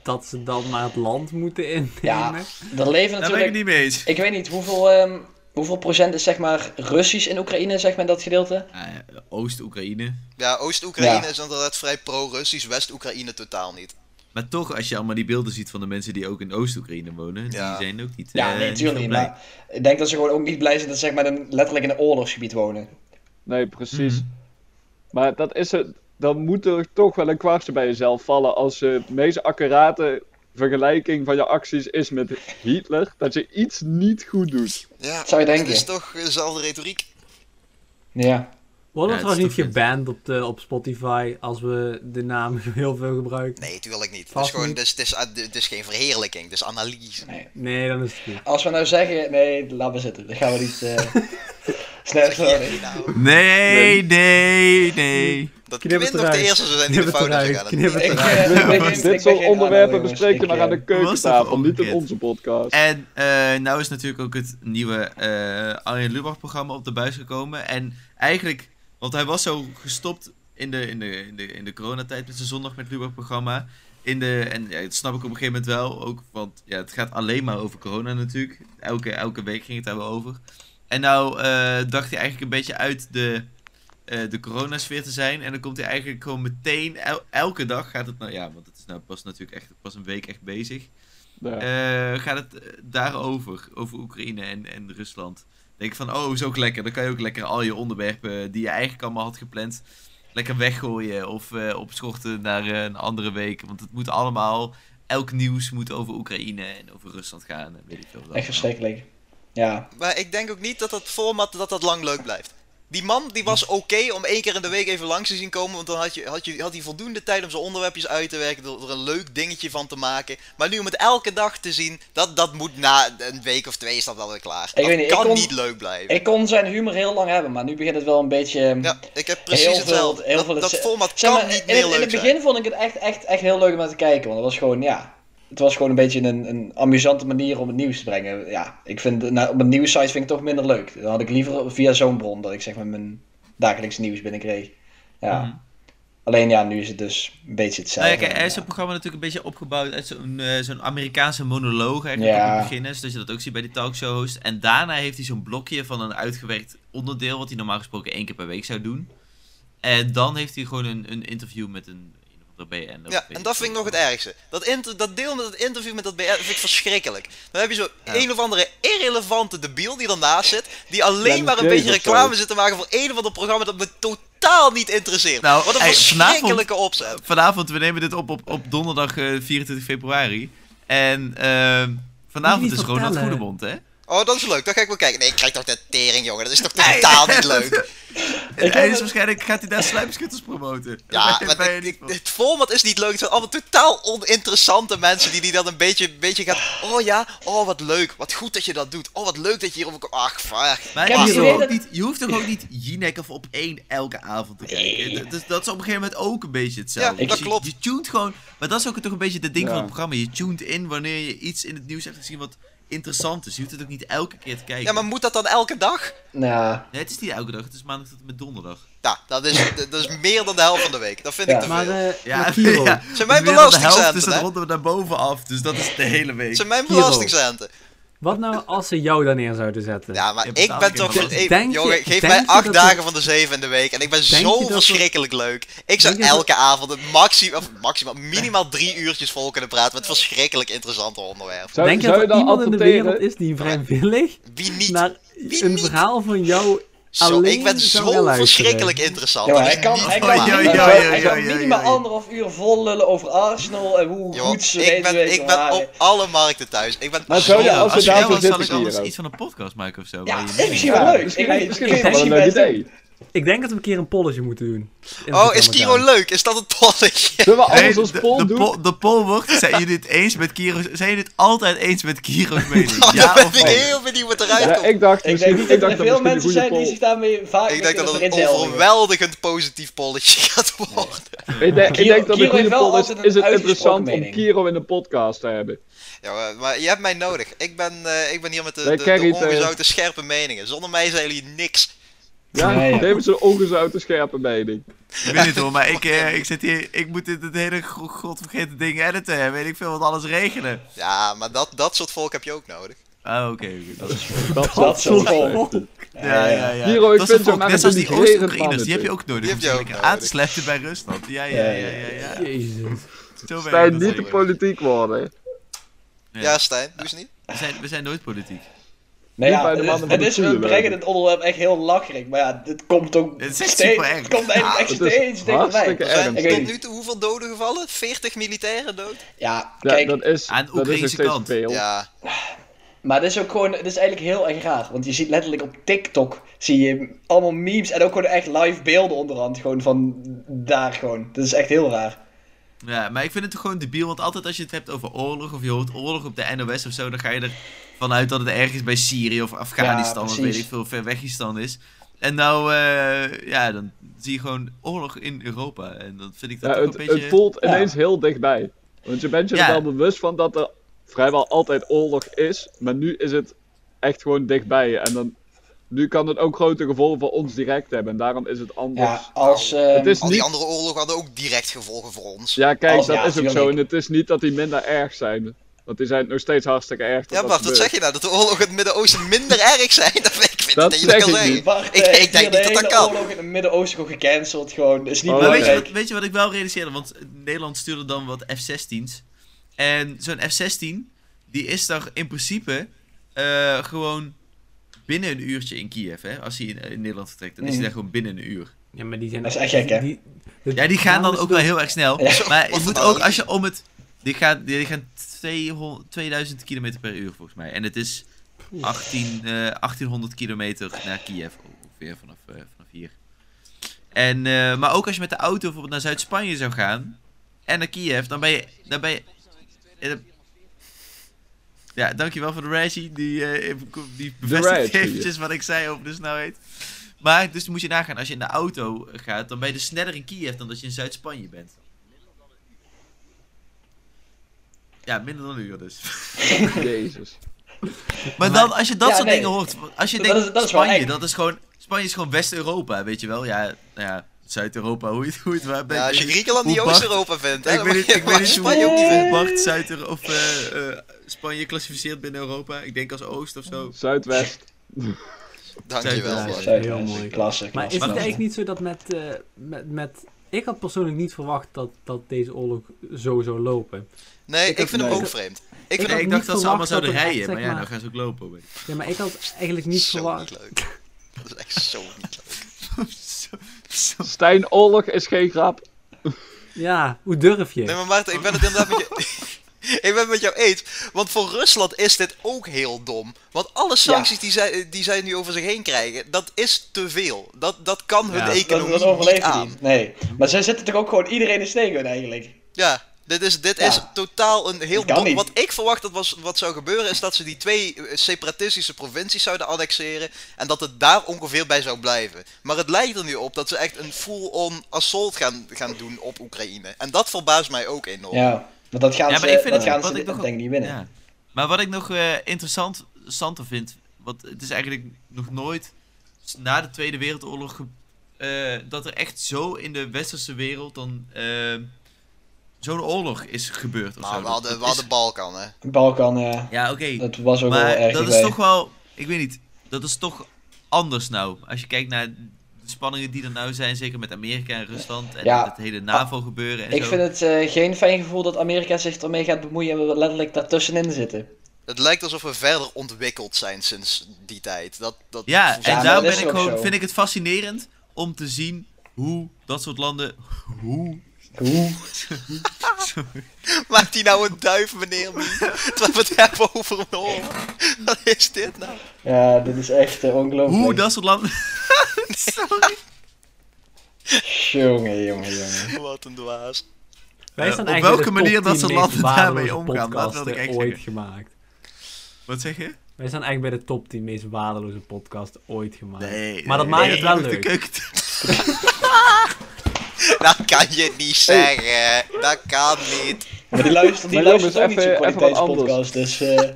[SPEAKER 6] dat ze dan maar het land moeten innemen?
[SPEAKER 5] Ja, er leven
[SPEAKER 2] Daar ben ik
[SPEAKER 5] natuurlijk...
[SPEAKER 2] het niet mee eens.
[SPEAKER 5] Ik weet niet, hoeveel, ehm, hoeveel procent is zeg maar Russisch in Oekraïne, zeg maar, dat gedeelte?
[SPEAKER 2] Ah, Oost-Oekraïne.
[SPEAKER 3] Ja, Oost-Oekraïne
[SPEAKER 5] Ja.
[SPEAKER 3] is inderdaad vrij pro-Russisch, West-Oekraïne totaal niet.
[SPEAKER 2] Maar toch, als je allemaal die beelden ziet van de mensen die ook in Oost-Oekraïne wonen,
[SPEAKER 3] Ja.
[SPEAKER 2] die zijn ook niet.
[SPEAKER 5] Ja,
[SPEAKER 2] eh,
[SPEAKER 5] nee,
[SPEAKER 2] niet
[SPEAKER 5] tuurlijk
[SPEAKER 2] heel
[SPEAKER 5] niet.
[SPEAKER 2] blij.
[SPEAKER 5] Maar ik denk dat ze gewoon ook niet blij zijn dat ze zeg maar, een, letterlijk in een oorlogsgebied wonen.
[SPEAKER 4] Nee, precies.
[SPEAKER 2] Mhm.
[SPEAKER 4] Maar dat is het. Dan moet er toch wel een kwartje bij jezelf vallen als je de meest accurate vergelijking van je acties is met Hitler. Dat je iets niet goed doet.
[SPEAKER 3] Ja,
[SPEAKER 5] Zou je denken?
[SPEAKER 3] Het is toch dezelfde retoriek.
[SPEAKER 5] Ja.
[SPEAKER 6] Worden
[SPEAKER 2] Ja,
[SPEAKER 6] we
[SPEAKER 2] het is
[SPEAKER 6] trouwens niet
[SPEAKER 2] toch vet.
[SPEAKER 6] geband op, de, op Spotify als we de naam heel veel gebruiken?
[SPEAKER 3] Nee, tuurlijk niet. Het is,
[SPEAKER 6] Vast
[SPEAKER 3] gewoon,
[SPEAKER 6] niet.
[SPEAKER 3] het, is, het, is, het is geen verheerlijking, het is analyse.
[SPEAKER 5] Nee.
[SPEAKER 6] Nee, dan is het goed.
[SPEAKER 5] Als we nou zeggen, nee, laat maar zitten. Dat gaan we niet. eh, Snel, snel.
[SPEAKER 3] Jij nou,
[SPEAKER 2] Nee, nee, nee.
[SPEAKER 3] dat
[SPEAKER 6] Knip het
[SPEAKER 3] Quint nog de
[SPEAKER 6] eruit.
[SPEAKER 3] eerste zou zijn die
[SPEAKER 6] Knip
[SPEAKER 3] de
[SPEAKER 6] het
[SPEAKER 3] fout heeft
[SPEAKER 6] eruit,
[SPEAKER 3] gedaan.
[SPEAKER 6] knip het
[SPEAKER 5] Ik,
[SPEAKER 6] eruit.
[SPEAKER 5] eh, ik ben geen- ik ben
[SPEAKER 4] Dit soort
[SPEAKER 5] geen aanhaler,
[SPEAKER 4] onderwerpen
[SPEAKER 5] jongens.
[SPEAKER 4] bespreek je
[SPEAKER 5] Ik,
[SPEAKER 4] maar aan
[SPEAKER 5] eh,
[SPEAKER 4] de keukentafel, niet in onze podcast.
[SPEAKER 2] En eh, nou is natuurlijk ook het nieuwe eh Arjen Lubach programma op de buis gekomen. En eigenlijk, want hij was zo gestopt in de, in de, in de, in de coronatijd met zijn zondag met Lubach programma. In de, en ja, dat snap ik op een gegeven moment wel, ook, want ja, het gaat alleen maar over corona natuurlijk. Elke, elke week ging het daar wel over. En nou eh, dacht hij eigenlijk een beetje uit de, eh de coronasfeer te zijn. En dan komt hij eigenlijk gewoon meteen, el- elke dag gaat het nou, ja, want het is nou pas natuurlijk echt pas een week echt bezig.
[SPEAKER 4] Ja.
[SPEAKER 2] Eh, gaat het eh, daarover, over Oekraïne en, en Rusland. Denk van, oh, is ook lekker. Dan kan je ook lekker al je onderwerpen die je eigenlijk allemaal had gepland, lekker weggooien of eh, opschorten naar eh, een andere week. Want het moet allemaal, elk nieuws moet over Oekraïne en over Rusland gaan. en Weet ik veel wat.
[SPEAKER 5] Echt verschrikkelijk. Ja,
[SPEAKER 3] Maar ik denk ook niet dat dat format dat dat lang leuk blijft. Die man die was oké
[SPEAKER 5] Hmm.
[SPEAKER 3] om één keer in de week even langs te zien komen. Want dan had, je, had, je, had hij voldoende tijd om zijn onderwerpjes uit te werken. Door er een leuk dingetje van te maken. Maar nu om het elke dag te zien. Dat, dat moet na een week of twee is dat wel weer klaar. dat
[SPEAKER 5] weet niet, ik
[SPEAKER 3] kan
[SPEAKER 5] kon-
[SPEAKER 3] niet leuk blijven.
[SPEAKER 5] ik kon zijn humor heel lang hebben, maar nu begint het wel een beetje... ehm,
[SPEAKER 3] Ja, ik heb precies
[SPEAKER 5] heel
[SPEAKER 3] hetzelfde.
[SPEAKER 5] Veel, heel
[SPEAKER 3] dat,
[SPEAKER 5] veel
[SPEAKER 3] dat format
[SPEAKER 5] Zeg
[SPEAKER 3] kan
[SPEAKER 5] maar,
[SPEAKER 3] niet
[SPEAKER 5] in,
[SPEAKER 3] meer
[SPEAKER 5] het- in
[SPEAKER 3] leuk
[SPEAKER 5] het
[SPEAKER 3] zijn.
[SPEAKER 5] begin vond ik het echt, echt, echt heel leuk om naar te kijken, want het was gewoon, ja... Het was gewoon een beetje een, een amusante manier om het nieuws te brengen. Ja, ik vind, nou, op een nieuwssite vind ik het toch minder leuk. Dan had ik liever via zo'n bron dat ik zeg maar mijn dagelijks nieuws binnenkreeg. Ja.
[SPEAKER 2] Mhm.
[SPEAKER 5] Alleen ja, nu is het dus een beetje
[SPEAKER 2] Nou
[SPEAKER 5] hetzelfde.
[SPEAKER 2] ja, kijk, hij is
[SPEAKER 5] Ja.
[SPEAKER 2] het programma natuurlijk een beetje opgebouwd uit zo'n eh, zo'n Amerikaanse monoloog eigenlijk
[SPEAKER 5] Ja.
[SPEAKER 2] op het begin. hè, Zodat je dat ook ziet bij die talkshow host. En daarna heeft hij zo'n blokje van een uitgewerkt onderdeel, wat hij normaal gesproken één keer per week zou doen. En dan heeft hij gewoon een, een interview met een, een of andere BN. of
[SPEAKER 3] Ja,
[SPEAKER 2] weet
[SPEAKER 3] en dat vind ik nog het ergste. Dat, inter- dat deel met het interview met dat BR vind ik verschrikkelijk. Dan heb je zo
[SPEAKER 2] Ja.
[SPEAKER 3] een of andere irrelevante debiel die ernaast zit, die alleen
[SPEAKER 4] Ja,
[SPEAKER 3] maar een
[SPEAKER 4] Dave
[SPEAKER 3] beetje
[SPEAKER 4] of zo.
[SPEAKER 3] reclame zit te maken voor een of ander programma dat me totaal niet interesseert.
[SPEAKER 2] Nou,
[SPEAKER 3] Wat een
[SPEAKER 2] hey,
[SPEAKER 3] verschrikkelijke opzet.
[SPEAKER 2] Vanavond, we nemen dit op op, op donderdag eh, 24 februari. En ehm,
[SPEAKER 6] Moet
[SPEAKER 2] vanavond
[SPEAKER 6] je
[SPEAKER 2] is
[SPEAKER 6] niet
[SPEAKER 2] Ronald
[SPEAKER 6] vertellen.
[SPEAKER 2] Goedemond, hè?
[SPEAKER 3] Oh, dat is leuk. Dan ga ik wel kijken. Nee, ik krijg toch de tering, jongen. Dat is toch totaal niet leuk.
[SPEAKER 2] En
[SPEAKER 5] heb
[SPEAKER 2] hij is
[SPEAKER 5] het-
[SPEAKER 2] waarschijnlijk, gaat hij daar slijmschutters promoten.
[SPEAKER 3] Ja,
[SPEAKER 2] Daar
[SPEAKER 3] maar
[SPEAKER 2] ben je
[SPEAKER 3] het,
[SPEAKER 2] niet van.
[SPEAKER 3] het, het format is niet leuk. Het zijn allemaal totaal oninteressante mensen die, die dan een beetje, een beetje gaan... Oh ja, oh wat leuk. Wat goed dat je dat doet. Oh wat leuk dat je hierover komt. Ach, fuck.
[SPEAKER 2] Maar
[SPEAKER 5] Ik
[SPEAKER 2] je,
[SPEAKER 5] heb het
[SPEAKER 2] hoeft
[SPEAKER 5] idee
[SPEAKER 2] ook
[SPEAKER 5] dat-
[SPEAKER 2] niet, je hoeft toch ook niet Jinek of op één elke avond te kijken.
[SPEAKER 5] Nee.
[SPEAKER 2] Dat, is- dat is op een gegeven moment ook een beetje hetzelfde. Dus
[SPEAKER 3] Ja, dat
[SPEAKER 2] je,
[SPEAKER 3] klopt.
[SPEAKER 2] Je tuned gewoon, maar dat is ook toch een beetje het ding
[SPEAKER 4] Ja.
[SPEAKER 2] van het programma. Je tuned in wanneer je iets in het nieuws hebt gezien wat interessant is. Je hoeft het ook niet elke keer te kijken.
[SPEAKER 3] Ja, maar moet dat dan elke dag?
[SPEAKER 5] Nou,
[SPEAKER 2] Nee, het is niet elke dag, het is maandag tot en met donderdag.
[SPEAKER 3] Nou, dat is, dat is meer dan de helft van de week. Dat vind ik
[SPEAKER 5] Ja.
[SPEAKER 3] te
[SPEAKER 6] Maar,
[SPEAKER 3] veel.
[SPEAKER 6] eh,
[SPEAKER 2] Ja,
[SPEAKER 6] maar Kiro,
[SPEAKER 2] ja.
[SPEAKER 3] Zijn mijn
[SPEAKER 2] Dus weer aan de helft,
[SPEAKER 3] belastingcenten,
[SPEAKER 2] dus dat
[SPEAKER 3] hè?
[SPEAKER 2] ronden we naar boven af. Dus dat is de hele week.
[SPEAKER 3] Het zijn mijn
[SPEAKER 6] Hero.
[SPEAKER 3] belastingcenten.
[SPEAKER 6] wat nou als ze jou daar neer zouden zetten?
[SPEAKER 3] Ja, maar
[SPEAKER 2] Je
[SPEAKER 3] ik
[SPEAKER 2] betaalt
[SPEAKER 3] ben
[SPEAKER 2] geen
[SPEAKER 3] toch...
[SPEAKER 2] belasting.
[SPEAKER 3] ik-
[SPEAKER 6] Denk je-
[SPEAKER 3] jongen, geef
[SPEAKER 6] denk
[SPEAKER 3] mij
[SPEAKER 6] je
[SPEAKER 3] acht
[SPEAKER 6] dat
[SPEAKER 3] dagen
[SPEAKER 6] we-
[SPEAKER 3] van de zeven in de week. En ik ben
[SPEAKER 6] Denk
[SPEAKER 3] zo
[SPEAKER 6] je dat we-
[SPEAKER 3] verschrikkelijk leuk. Ik zou
[SPEAKER 6] Denk je dat-
[SPEAKER 3] elke avond een maximaal, maximaal, minimaal drie uurtjes vol kunnen praten met verschrikkelijk interessante onderwerpen.
[SPEAKER 4] Zou,
[SPEAKER 6] Denk je
[SPEAKER 4] zou
[SPEAKER 6] dat
[SPEAKER 4] je
[SPEAKER 6] er
[SPEAKER 4] dan
[SPEAKER 6] iemand in de wereld
[SPEAKER 4] adverteren?
[SPEAKER 6] is die vrijwillig
[SPEAKER 3] Wie niet?
[SPEAKER 6] naar
[SPEAKER 3] Wie
[SPEAKER 6] een
[SPEAKER 3] niet?
[SPEAKER 6] verhaal van jou
[SPEAKER 3] Zo,
[SPEAKER 6] alleen
[SPEAKER 3] ik ben
[SPEAKER 6] zou
[SPEAKER 3] zo
[SPEAKER 6] gaan luisteren?
[SPEAKER 3] verschrikkelijk interessant.
[SPEAKER 5] Ja, maar
[SPEAKER 3] Dat
[SPEAKER 5] hij
[SPEAKER 3] is
[SPEAKER 5] kan,
[SPEAKER 3] niet
[SPEAKER 5] hij kan,
[SPEAKER 3] normaal.
[SPEAKER 2] Ja,
[SPEAKER 5] minimaal-
[SPEAKER 2] ja, ja,
[SPEAKER 5] hij
[SPEAKER 2] ja,
[SPEAKER 5] kan
[SPEAKER 2] ja, ja,
[SPEAKER 5] minimaal
[SPEAKER 2] ja.
[SPEAKER 5] anderhalf uur vol lullen over Arsenal en hoe
[SPEAKER 3] Joh,
[SPEAKER 5] goed ze
[SPEAKER 3] ik
[SPEAKER 5] deze
[SPEAKER 3] ben,
[SPEAKER 5] week
[SPEAKER 3] ik ben
[SPEAKER 5] waren.
[SPEAKER 3] op alle markten thuis. Ik ben
[SPEAKER 4] Maar
[SPEAKER 3] zo
[SPEAKER 4] zou je Oh als
[SPEAKER 2] als
[SPEAKER 4] we
[SPEAKER 2] je wel
[SPEAKER 4] daarvoor
[SPEAKER 2] was, zal ik
[SPEAKER 4] zitten
[SPEAKER 2] anders
[SPEAKER 4] hier
[SPEAKER 2] iets van een podcast maken of zo.
[SPEAKER 5] Ja,
[SPEAKER 2] waar je
[SPEAKER 5] ik
[SPEAKER 2] niet-
[SPEAKER 5] zie wel leuk.
[SPEAKER 4] Misschien,
[SPEAKER 5] Ik- ik-
[SPEAKER 4] misschien
[SPEAKER 5] ik-
[SPEAKER 4] is dat wel
[SPEAKER 5] ik-
[SPEAKER 4] een
[SPEAKER 5] ik-
[SPEAKER 4] leuk
[SPEAKER 5] ik-
[SPEAKER 4] idee.
[SPEAKER 6] Ik denk dat we een keer een polletje moeten doen. In het
[SPEAKER 3] Oh, is
[SPEAKER 6] programma
[SPEAKER 3] Kiro
[SPEAKER 6] gaan.
[SPEAKER 3] leuk? Is dat een polletje?
[SPEAKER 4] Zullen we
[SPEAKER 2] Hey,
[SPEAKER 4] anders
[SPEAKER 2] de,
[SPEAKER 4] als Paul
[SPEAKER 2] de,
[SPEAKER 4] doen?
[SPEAKER 2] pol, de poll wordt, zijn jullie het eens met Kiro? Zijn jullie het altijd eens met Kiro's mening?
[SPEAKER 3] Dan
[SPEAKER 2] ja
[SPEAKER 3] ben
[SPEAKER 2] of
[SPEAKER 3] ik
[SPEAKER 2] nee?
[SPEAKER 3] heel benieuwd wat eruit
[SPEAKER 4] Ja,
[SPEAKER 3] komt.
[SPEAKER 4] ik dacht
[SPEAKER 5] Ik denk
[SPEAKER 4] misschien,
[SPEAKER 5] niet
[SPEAKER 4] ik
[SPEAKER 5] dat
[SPEAKER 4] dacht
[SPEAKER 5] er
[SPEAKER 4] dat
[SPEAKER 5] veel
[SPEAKER 4] misschien een
[SPEAKER 5] mensen
[SPEAKER 4] goede
[SPEAKER 5] zijn die
[SPEAKER 4] poll...
[SPEAKER 5] zich daarmee vaak
[SPEAKER 3] Ik denk dat het
[SPEAKER 5] erin
[SPEAKER 3] een
[SPEAKER 5] zelgen.
[SPEAKER 3] overweldigend positief polletje gaat worden.
[SPEAKER 4] Ik denk, ik
[SPEAKER 5] Kiro-
[SPEAKER 4] denk dat een
[SPEAKER 5] Kiro
[SPEAKER 4] goede
[SPEAKER 5] heeft wel
[SPEAKER 4] poll is,
[SPEAKER 5] altijd een
[SPEAKER 4] is het
[SPEAKER 5] uitgesproken
[SPEAKER 4] interessant om
[SPEAKER 5] mening.
[SPEAKER 4] Kiro in de podcast te hebben.
[SPEAKER 3] Ja, maar, maar je hebt mij nodig. Ik ben, eh, ik ben hier met de,
[SPEAKER 4] Nee,
[SPEAKER 3] de,
[SPEAKER 4] Gerrit,
[SPEAKER 3] de
[SPEAKER 4] eh,
[SPEAKER 3] ongezouten scherpe meningen. Zonder mij zijn jullie niks.
[SPEAKER 4] Ja,
[SPEAKER 5] Ja, ja.
[SPEAKER 4] David is een ongezouten scherpe mening.
[SPEAKER 2] Ik weet niet hoor, maar ik, eh, ik zit hier, ik moet dit, dit hele go- godvergeten ding editen en weet ik veel wat alles regelen.
[SPEAKER 3] Ja, maar dat, dat soort volk heb je ook nodig.
[SPEAKER 2] Ah, oké. oké, dat is-
[SPEAKER 4] Dat,
[SPEAKER 5] Dat
[SPEAKER 4] zal
[SPEAKER 5] soort
[SPEAKER 4] wel.
[SPEAKER 6] volk.
[SPEAKER 2] ja, ja, ja.
[SPEAKER 4] Hero, ik
[SPEAKER 2] dat is
[SPEAKER 4] vind
[SPEAKER 2] toch
[SPEAKER 4] hem
[SPEAKER 2] ook, net
[SPEAKER 4] echt een
[SPEAKER 2] zoals die
[SPEAKER 4] degere
[SPEAKER 2] Oost-Oekraïners,
[SPEAKER 4] man
[SPEAKER 2] die heb je ook nodig
[SPEAKER 3] Die
[SPEAKER 2] om
[SPEAKER 3] heb je ook
[SPEAKER 2] lekker
[SPEAKER 3] nodig.
[SPEAKER 2] aan te slechten bij Rusland. Ja, ja, ja, ja, ja. ja,
[SPEAKER 6] Jezus.
[SPEAKER 2] Zo werkt
[SPEAKER 4] Stijn,
[SPEAKER 2] dat
[SPEAKER 4] niet de
[SPEAKER 2] ook.
[SPEAKER 4] politiek worden.
[SPEAKER 2] Ja.
[SPEAKER 3] Ja, Stijn, doe eens niet.
[SPEAKER 2] We zijn, we zijn nooit politiek.
[SPEAKER 5] Nou
[SPEAKER 4] Niet bij
[SPEAKER 5] ja,
[SPEAKER 4] de mannen
[SPEAKER 5] het,
[SPEAKER 4] van
[SPEAKER 5] het
[SPEAKER 4] de
[SPEAKER 5] is, we
[SPEAKER 4] Koele,
[SPEAKER 5] brengen het onderwerp echt heel lacherig, maar ja, dit komt ook
[SPEAKER 2] Het is echt
[SPEAKER 5] steeds,
[SPEAKER 2] super erg.
[SPEAKER 5] het komt eigenlijk echt
[SPEAKER 4] het is
[SPEAKER 5] steeds dichterbij.
[SPEAKER 4] hartstikke
[SPEAKER 3] Er
[SPEAKER 4] erg.
[SPEAKER 3] zijn
[SPEAKER 5] Ik weet
[SPEAKER 3] tot
[SPEAKER 5] niet.
[SPEAKER 3] nu toe hoeveel doden gevallen? 40 militairen dood?
[SPEAKER 5] Ja,
[SPEAKER 4] Ja,
[SPEAKER 5] kijk,
[SPEAKER 4] dat is,
[SPEAKER 2] Aan de
[SPEAKER 4] dat is nog
[SPEAKER 2] Oekraïnse
[SPEAKER 4] steeds
[SPEAKER 2] kant.
[SPEAKER 4] veel.
[SPEAKER 3] Ja.
[SPEAKER 5] Maar dit is ook gewoon, dit is eigenlijk heel erg raar. Want je ziet letterlijk op TikTok zie je allemaal memes en ook gewoon echt live beelden onderhand. Gewoon van daar gewoon. Dat is echt heel raar.
[SPEAKER 2] Ja, maar ik vind het toch gewoon debiel, want altijd als je het hebt over oorlog of je hoort oorlog op de NOS of zo, dan ga je er vanuit dat het ergens bij Syrië of Afghanistan
[SPEAKER 5] Ja,
[SPEAKER 2] of
[SPEAKER 5] precies.
[SPEAKER 2] weet ik veel, ver wegistan is. En nou, eh, ja, dan zie je gewoon oorlog in Europa. En dan vind ik dat
[SPEAKER 4] Ja,
[SPEAKER 2] toch
[SPEAKER 4] het,
[SPEAKER 2] een beetje...
[SPEAKER 4] het voelt
[SPEAKER 5] Ja.
[SPEAKER 4] ineens heel dichtbij. Want je bent je
[SPEAKER 2] Ja.
[SPEAKER 4] er wel bewust van dat er vrijwel altijd oorlog is. Maar nu is het echt gewoon dichtbij. En dan, nu kan het ook grote gevolgen voor ons direct hebben. En daarom is het anders.
[SPEAKER 5] Ja, als... ehm,
[SPEAKER 4] Het is
[SPEAKER 3] Al die
[SPEAKER 4] niet...
[SPEAKER 3] andere oorlogen hadden ook direct gevolgen voor ons.
[SPEAKER 4] Ja, kijk,
[SPEAKER 5] Als-
[SPEAKER 4] dat
[SPEAKER 5] ja,
[SPEAKER 4] is ook zo.
[SPEAKER 5] tuurlijk.
[SPEAKER 4] En het is niet dat die minder erg zijn. Want die zijn nog steeds hartstikke erg.
[SPEAKER 3] Ja, Bart, wat zeg je nou? Dat de oorlogen in het Midden-Oosten minder erg zijn? Dat vind ik vind
[SPEAKER 4] Dat
[SPEAKER 3] dat je dat
[SPEAKER 4] zeg
[SPEAKER 3] kan
[SPEAKER 4] ik
[SPEAKER 3] zeggen.
[SPEAKER 4] niet.
[SPEAKER 5] Bart,
[SPEAKER 3] Ik-
[SPEAKER 5] eh,
[SPEAKER 3] ik denk
[SPEAKER 5] hier de
[SPEAKER 3] niet dat dat
[SPEAKER 5] hele
[SPEAKER 3] kan.
[SPEAKER 5] oorlog in het Midden-Oosten gewoon gecanceld, gewoon. Dat is niet
[SPEAKER 4] Oh,
[SPEAKER 2] Maar weet je,
[SPEAKER 5] belangrijk.
[SPEAKER 2] wat, weet je wat ik wel realiseerde? Want Nederland stuurde dan wat F-16's. En zo'n F-16, die is daar in principe eh, gewoon binnen een uurtje in Kiev. Hè? Als hij in, in Nederland vertrekt, dan is hij
[SPEAKER 5] Mhm.
[SPEAKER 2] daar gewoon binnen een uur.
[SPEAKER 6] Ja, maar die zijn...
[SPEAKER 5] Dat is echt gek, hè?
[SPEAKER 6] Die, die-
[SPEAKER 2] Ja, die gaan dan ook wel heel erg snel.
[SPEAKER 5] Ja.
[SPEAKER 2] Maar je
[SPEAKER 3] Wat
[SPEAKER 2] moet
[SPEAKER 3] dan?
[SPEAKER 2] ook, als je om het... Die gaan, die gaan 200, 2000 kilometer per uur volgens mij. En het is 18, eh, 1800 kilometer naar Kiev ongeveer vanaf, eh, vanaf hier. En, eh, maar ook als je met de auto bijvoorbeeld naar Zuid-Spanje zou gaan en naar Kiev, dan ben je... Dan ben je eh, dan- ja, dankjewel voor de Reggie. Die, eh, die bevestigt
[SPEAKER 4] Reggie.
[SPEAKER 2] eventjes wat ik zei over de snelheid. Maar, dus moet je nagaan, als je in de auto gaat, dan ben je dus sneller in Kiev dan dat je in Zuid-Spanje bent. Ja, minder dan een uur dus.
[SPEAKER 4] Jezus.
[SPEAKER 2] Maar dan, als je dat
[SPEAKER 5] Ja,
[SPEAKER 2] soort
[SPEAKER 5] nee.
[SPEAKER 2] dingen hoort, als je
[SPEAKER 5] Dat
[SPEAKER 2] denkt,
[SPEAKER 5] is- dat is wel
[SPEAKER 2] Spanje,
[SPEAKER 5] eng.
[SPEAKER 2] dat is gewoon, Spanje is gewoon West-Europa, weet je wel? Ja, nou ja Zuid-Europa, hoe je het, hoe je het waar bent.
[SPEAKER 3] Ja, als je
[SPEAKER 2] Ik weet
[SPEAKER 3] Griekenland niet
[SPEAKER 2] hoe Bart-
[SPEAKER 3] Oost-Europa vindt, hè,
[SPEAKER 2] Ik weet
[SPEAKER 3] dan mag
[SPEAKER 2] niet,
[SPEAKER 3] je-
[SPEAKER 2] ik weet
[SPEAKER 3] mag
[SPEAKER 2] niet
[SPEAKER 3] je Spanje ook niet
[SPEAKER 2] hoe
[SPEAKER 3] vinden.
[SPEAKER 2] Bart Zuid- of eh, eh, Spanje klassificeert binnen Europa. Ik denk als Oost of zo.
[SPEAKER 4] Zuidwest.
[SPEAKER 3] Dankjewel,
[SPEAKER 2] Ja,
[SPEAKER 3] Bart.
[SPEAKER 5] Zo,
[SPEAKER 6] Heel mooi. Maar
[SPEAKER 5] Klasse,
[SPEAKER 6] is
[SPEAKER 5] klasse,
[SPEAKER 6] het
[SPEAKER 5] klasse.
[SPEAKER 6] eigenlijk niet zo dat met, eh, met, met... Ik had persoonlijk niet verwacht dat, dat deze oorlog zo zou lopen.
[SPEAKER 3] Nee,
[SPEAKER 4] Ik
[SPEAKER 3] ik,
[SPEAKER 4] ook
[SPEAKER 3] vind hem
[SPEAKER 4] niet.
[SPEAKER 3] ook vreemd. Ik
[SPEAKER 6] Ik
[SPEAKER 2] Nee,
[SPEAKER 3] vind hem
[SPEAKER 2] ik
[SPEAKER 6] niet
[SPEAKER 2] dacht dat ze allemaal
[SPEAKER 6] verwacht
[SPEAKER 2] zouden
[SPEAKER 6] dat er echt,
[SPEAKER 2] rijden,
[SPEAKER 6] zeg
[SPEAKER 2] maar ja,
[SPEAKER 6] maar-
[SPEAKER 2] nou gaan ze ook lopen. weet je.
[SPEAKER 6] Ja, maar ik had eigenlijk niet
[SPEAKER 3] zo niet
[SPEAKER 6] verwacht...
[SPEAKER 3] leuk. Dat is echt zo niet leuk.
[SPEAKER 2] Zo- zo-
[SPEAKER 4] Stijn Oorlog is geen grap.
[SPEAKER 6] Ja, hoe durf je?
[SPEAKER 3] Nee, maar Maarten, ik ben het inderdaad met je... Ik ben het met jou eens. Want voor Rusland is dit ook heel dom. Want alle sancties die, zij, die zij nu over zich heen krijgen, dat is te veel. Dat, dat kan hun
[SPEAKER 6] Ja, dat-
[SPEAKER 5] Dat,
[SPEAKER 3] economie
[SPEAKER 5] dat
[SPEAKER 3] niet
[SPEAKER 5] overleeft
[SPEAKER 3] aan.
[SPEAKER 5] niet. Nee. Maar zij zitten toch ook gewoon iedereen in steek hun eigenlijk.
[SPEAKER 3] Ja, dit is, dit
[SPEAKER 5] Ja.
[SPEAKER 3] is totaal een heel...
[SPEAKER 5] Dat kan
[SPEAKER 3] dom-
[SPEAKER 5] niet.
[SPEAKER 3] Wat ik verwacht dat was, wat zou gebeuren, is dat ze die twee eh, separatistische provincies zouden annexeren. En dat het daar ongeveer bij zou blijven. Maar het lijkt er nu op dat ze echt een full-on assault gaan, gaan doen op Oekraïne. En dat verbaast mij ook enorm.
[SPEAKER 5] Ja. Want dat gaan
[SPEAKER 2] Ja,
[SPEAKER 5] ze,
[SPEAKER 2] maar ik vind
[SPEAKER 5] dat
[SPEAKER 2] het-
[SPEAKER 5] gaan
[SPEAKER 2] wat
[SPEAKER 5] ze
[SPEAKER 2] ik nog-
[SPEAKER 5] denk ik niet winnen.
[SPEAKER 2] Ja. Maar wat ik nog eh, interessant interessanter vind, want het is eigenlijk nog nooit s- na de Tweede Wereldoorlog ge- eh, dat er echt zo in de westerse wereld dan eh, zo'n oorlog is gebeurd. Of zo.
[SPEAKER 3] Maar Nou, we
[SPEAKER 2] Dat-
[SPEAKER 3] hadden,
[SPEAKER 2] dat
[SPEAKER 3] we
[SPEAKER 2] is-
[SPEAKER 3] hadden Balkan, hè.
[SPEAKER 5] Balkan, ja.
[SPEAKER 2] Ja, oké.
[SPEAKER 5] Dat was ook wel
[SPEAKER 2] Maar
[SPEAKER 5] erg
[SPEAKER 2] dat is
[SPEAKER 5] dichtbij.
[SPEAKER 2] toch wel, ik weet niet, dat is toch anders nou. Als je kijkt naar de spanningen die er nou zijn, zeker met Amerika en Rusland en
[SPEAKER 5] Ja.
[SPEAKER 2] het hele NAVO-gebeuren en
[SPEAKER 5] Ik
[SPEAKER 2] zo.
[SPEAKER 5] vind het eh, geen fijn gevoel dat Amerika zich ermee gaat bemoeien en we letterlijk daartussenin zitten.
[SPEAKER 3] Het lijkt alsof we verder ontwikkeld zijn sinds die tijd. Dat, dat
[SPEAKER 2] Ja,
[SPEAKER 5] Ja,
[SPEAKER 2] en
[SPEAKER 5] maar
[SPEAKER 2] daarom
[SPEAKER 5] dat
[SPEAKER 2] ben
[SPEAKER 5] is
[SPEAKER 2] ik
[SPEAKER 5] ook
[SPEAKER 2] gewoon,
[SPEAKER 5] zo.
[SPEAKER 2] vind ik het fascinerend om te zien hoe dat soort landen. Hoe?
[SPEAKER 5] Hoe?
[SPEAKER 3] Maakt hij nou een duif, meneer Mie? Terwijl we het hebben over een oorlog. Wat is dit nou?
[SPEAKER 5] Ja, dit is echt eh, ongelooflijk.
[SPEAKER 2] Hoe dat soort landen.
[SPEAKER 5] Jongen, jongen, jongen.
[SPEAKER 3] Wat een dwaas.
[SPEAKER 6] Wij
[SPEAKER 2] Eh,
[SPEAKER 6] staan
[SPEAKER 2] op
[SPEAKER 6] eigenlijk in
[SPEAKER 2] welke
[SPEAKER 6] de top
[SPEAKER 2] manier dat
[SPEAKER 6] 10
[SPEAKER 2] ze
[SPEAKER 6] meest
[SPEAKER 2] landen
[SPEAKER 6] waardeloze
[SPEAKER 2] daarmee omgaan, dat wilde ik
[SPEAKER 6] podcasten
[SPEAKER 2] echt
[SPEAKER 6] ooit
[SPEAKER 2] zeggen.
[SPEAKER 6] gemaakt.
[SPEAKER 2] Wat zeg je?
[SPEAKER 6] Wij staan eigenlijk bij de top 10 meest waardeloze podcast ooit gemaakt.
[SPEAKER 2] Nee,
[SPEAKER 6] maar dat
[SPEAKER 2] nee,
[SPEAKER 6] maakt
[SPEAKER 2] nee,
[SPEAKER 6] het wel
[SPEAKER 2] de
[SPEAKER 6] leuk.
[SPEAKER 2] keuken-
[SPEAKER 3] Dat kan je niet zeggen. Dat kan niet.
[SPEAKER 5] Maar die luistert,
[SPEAKER 4] Maar
[SPEAKER 5] die
[SPEAKER 4] jongens,
[SPEAKER 5] luistert ook niet
[SPEAKER 4] even-
[SPEAKER 5] zo'n
[SPEAKER 4] even wat
[SPEAKER 5] kwaliteitspodcast, dus... eh,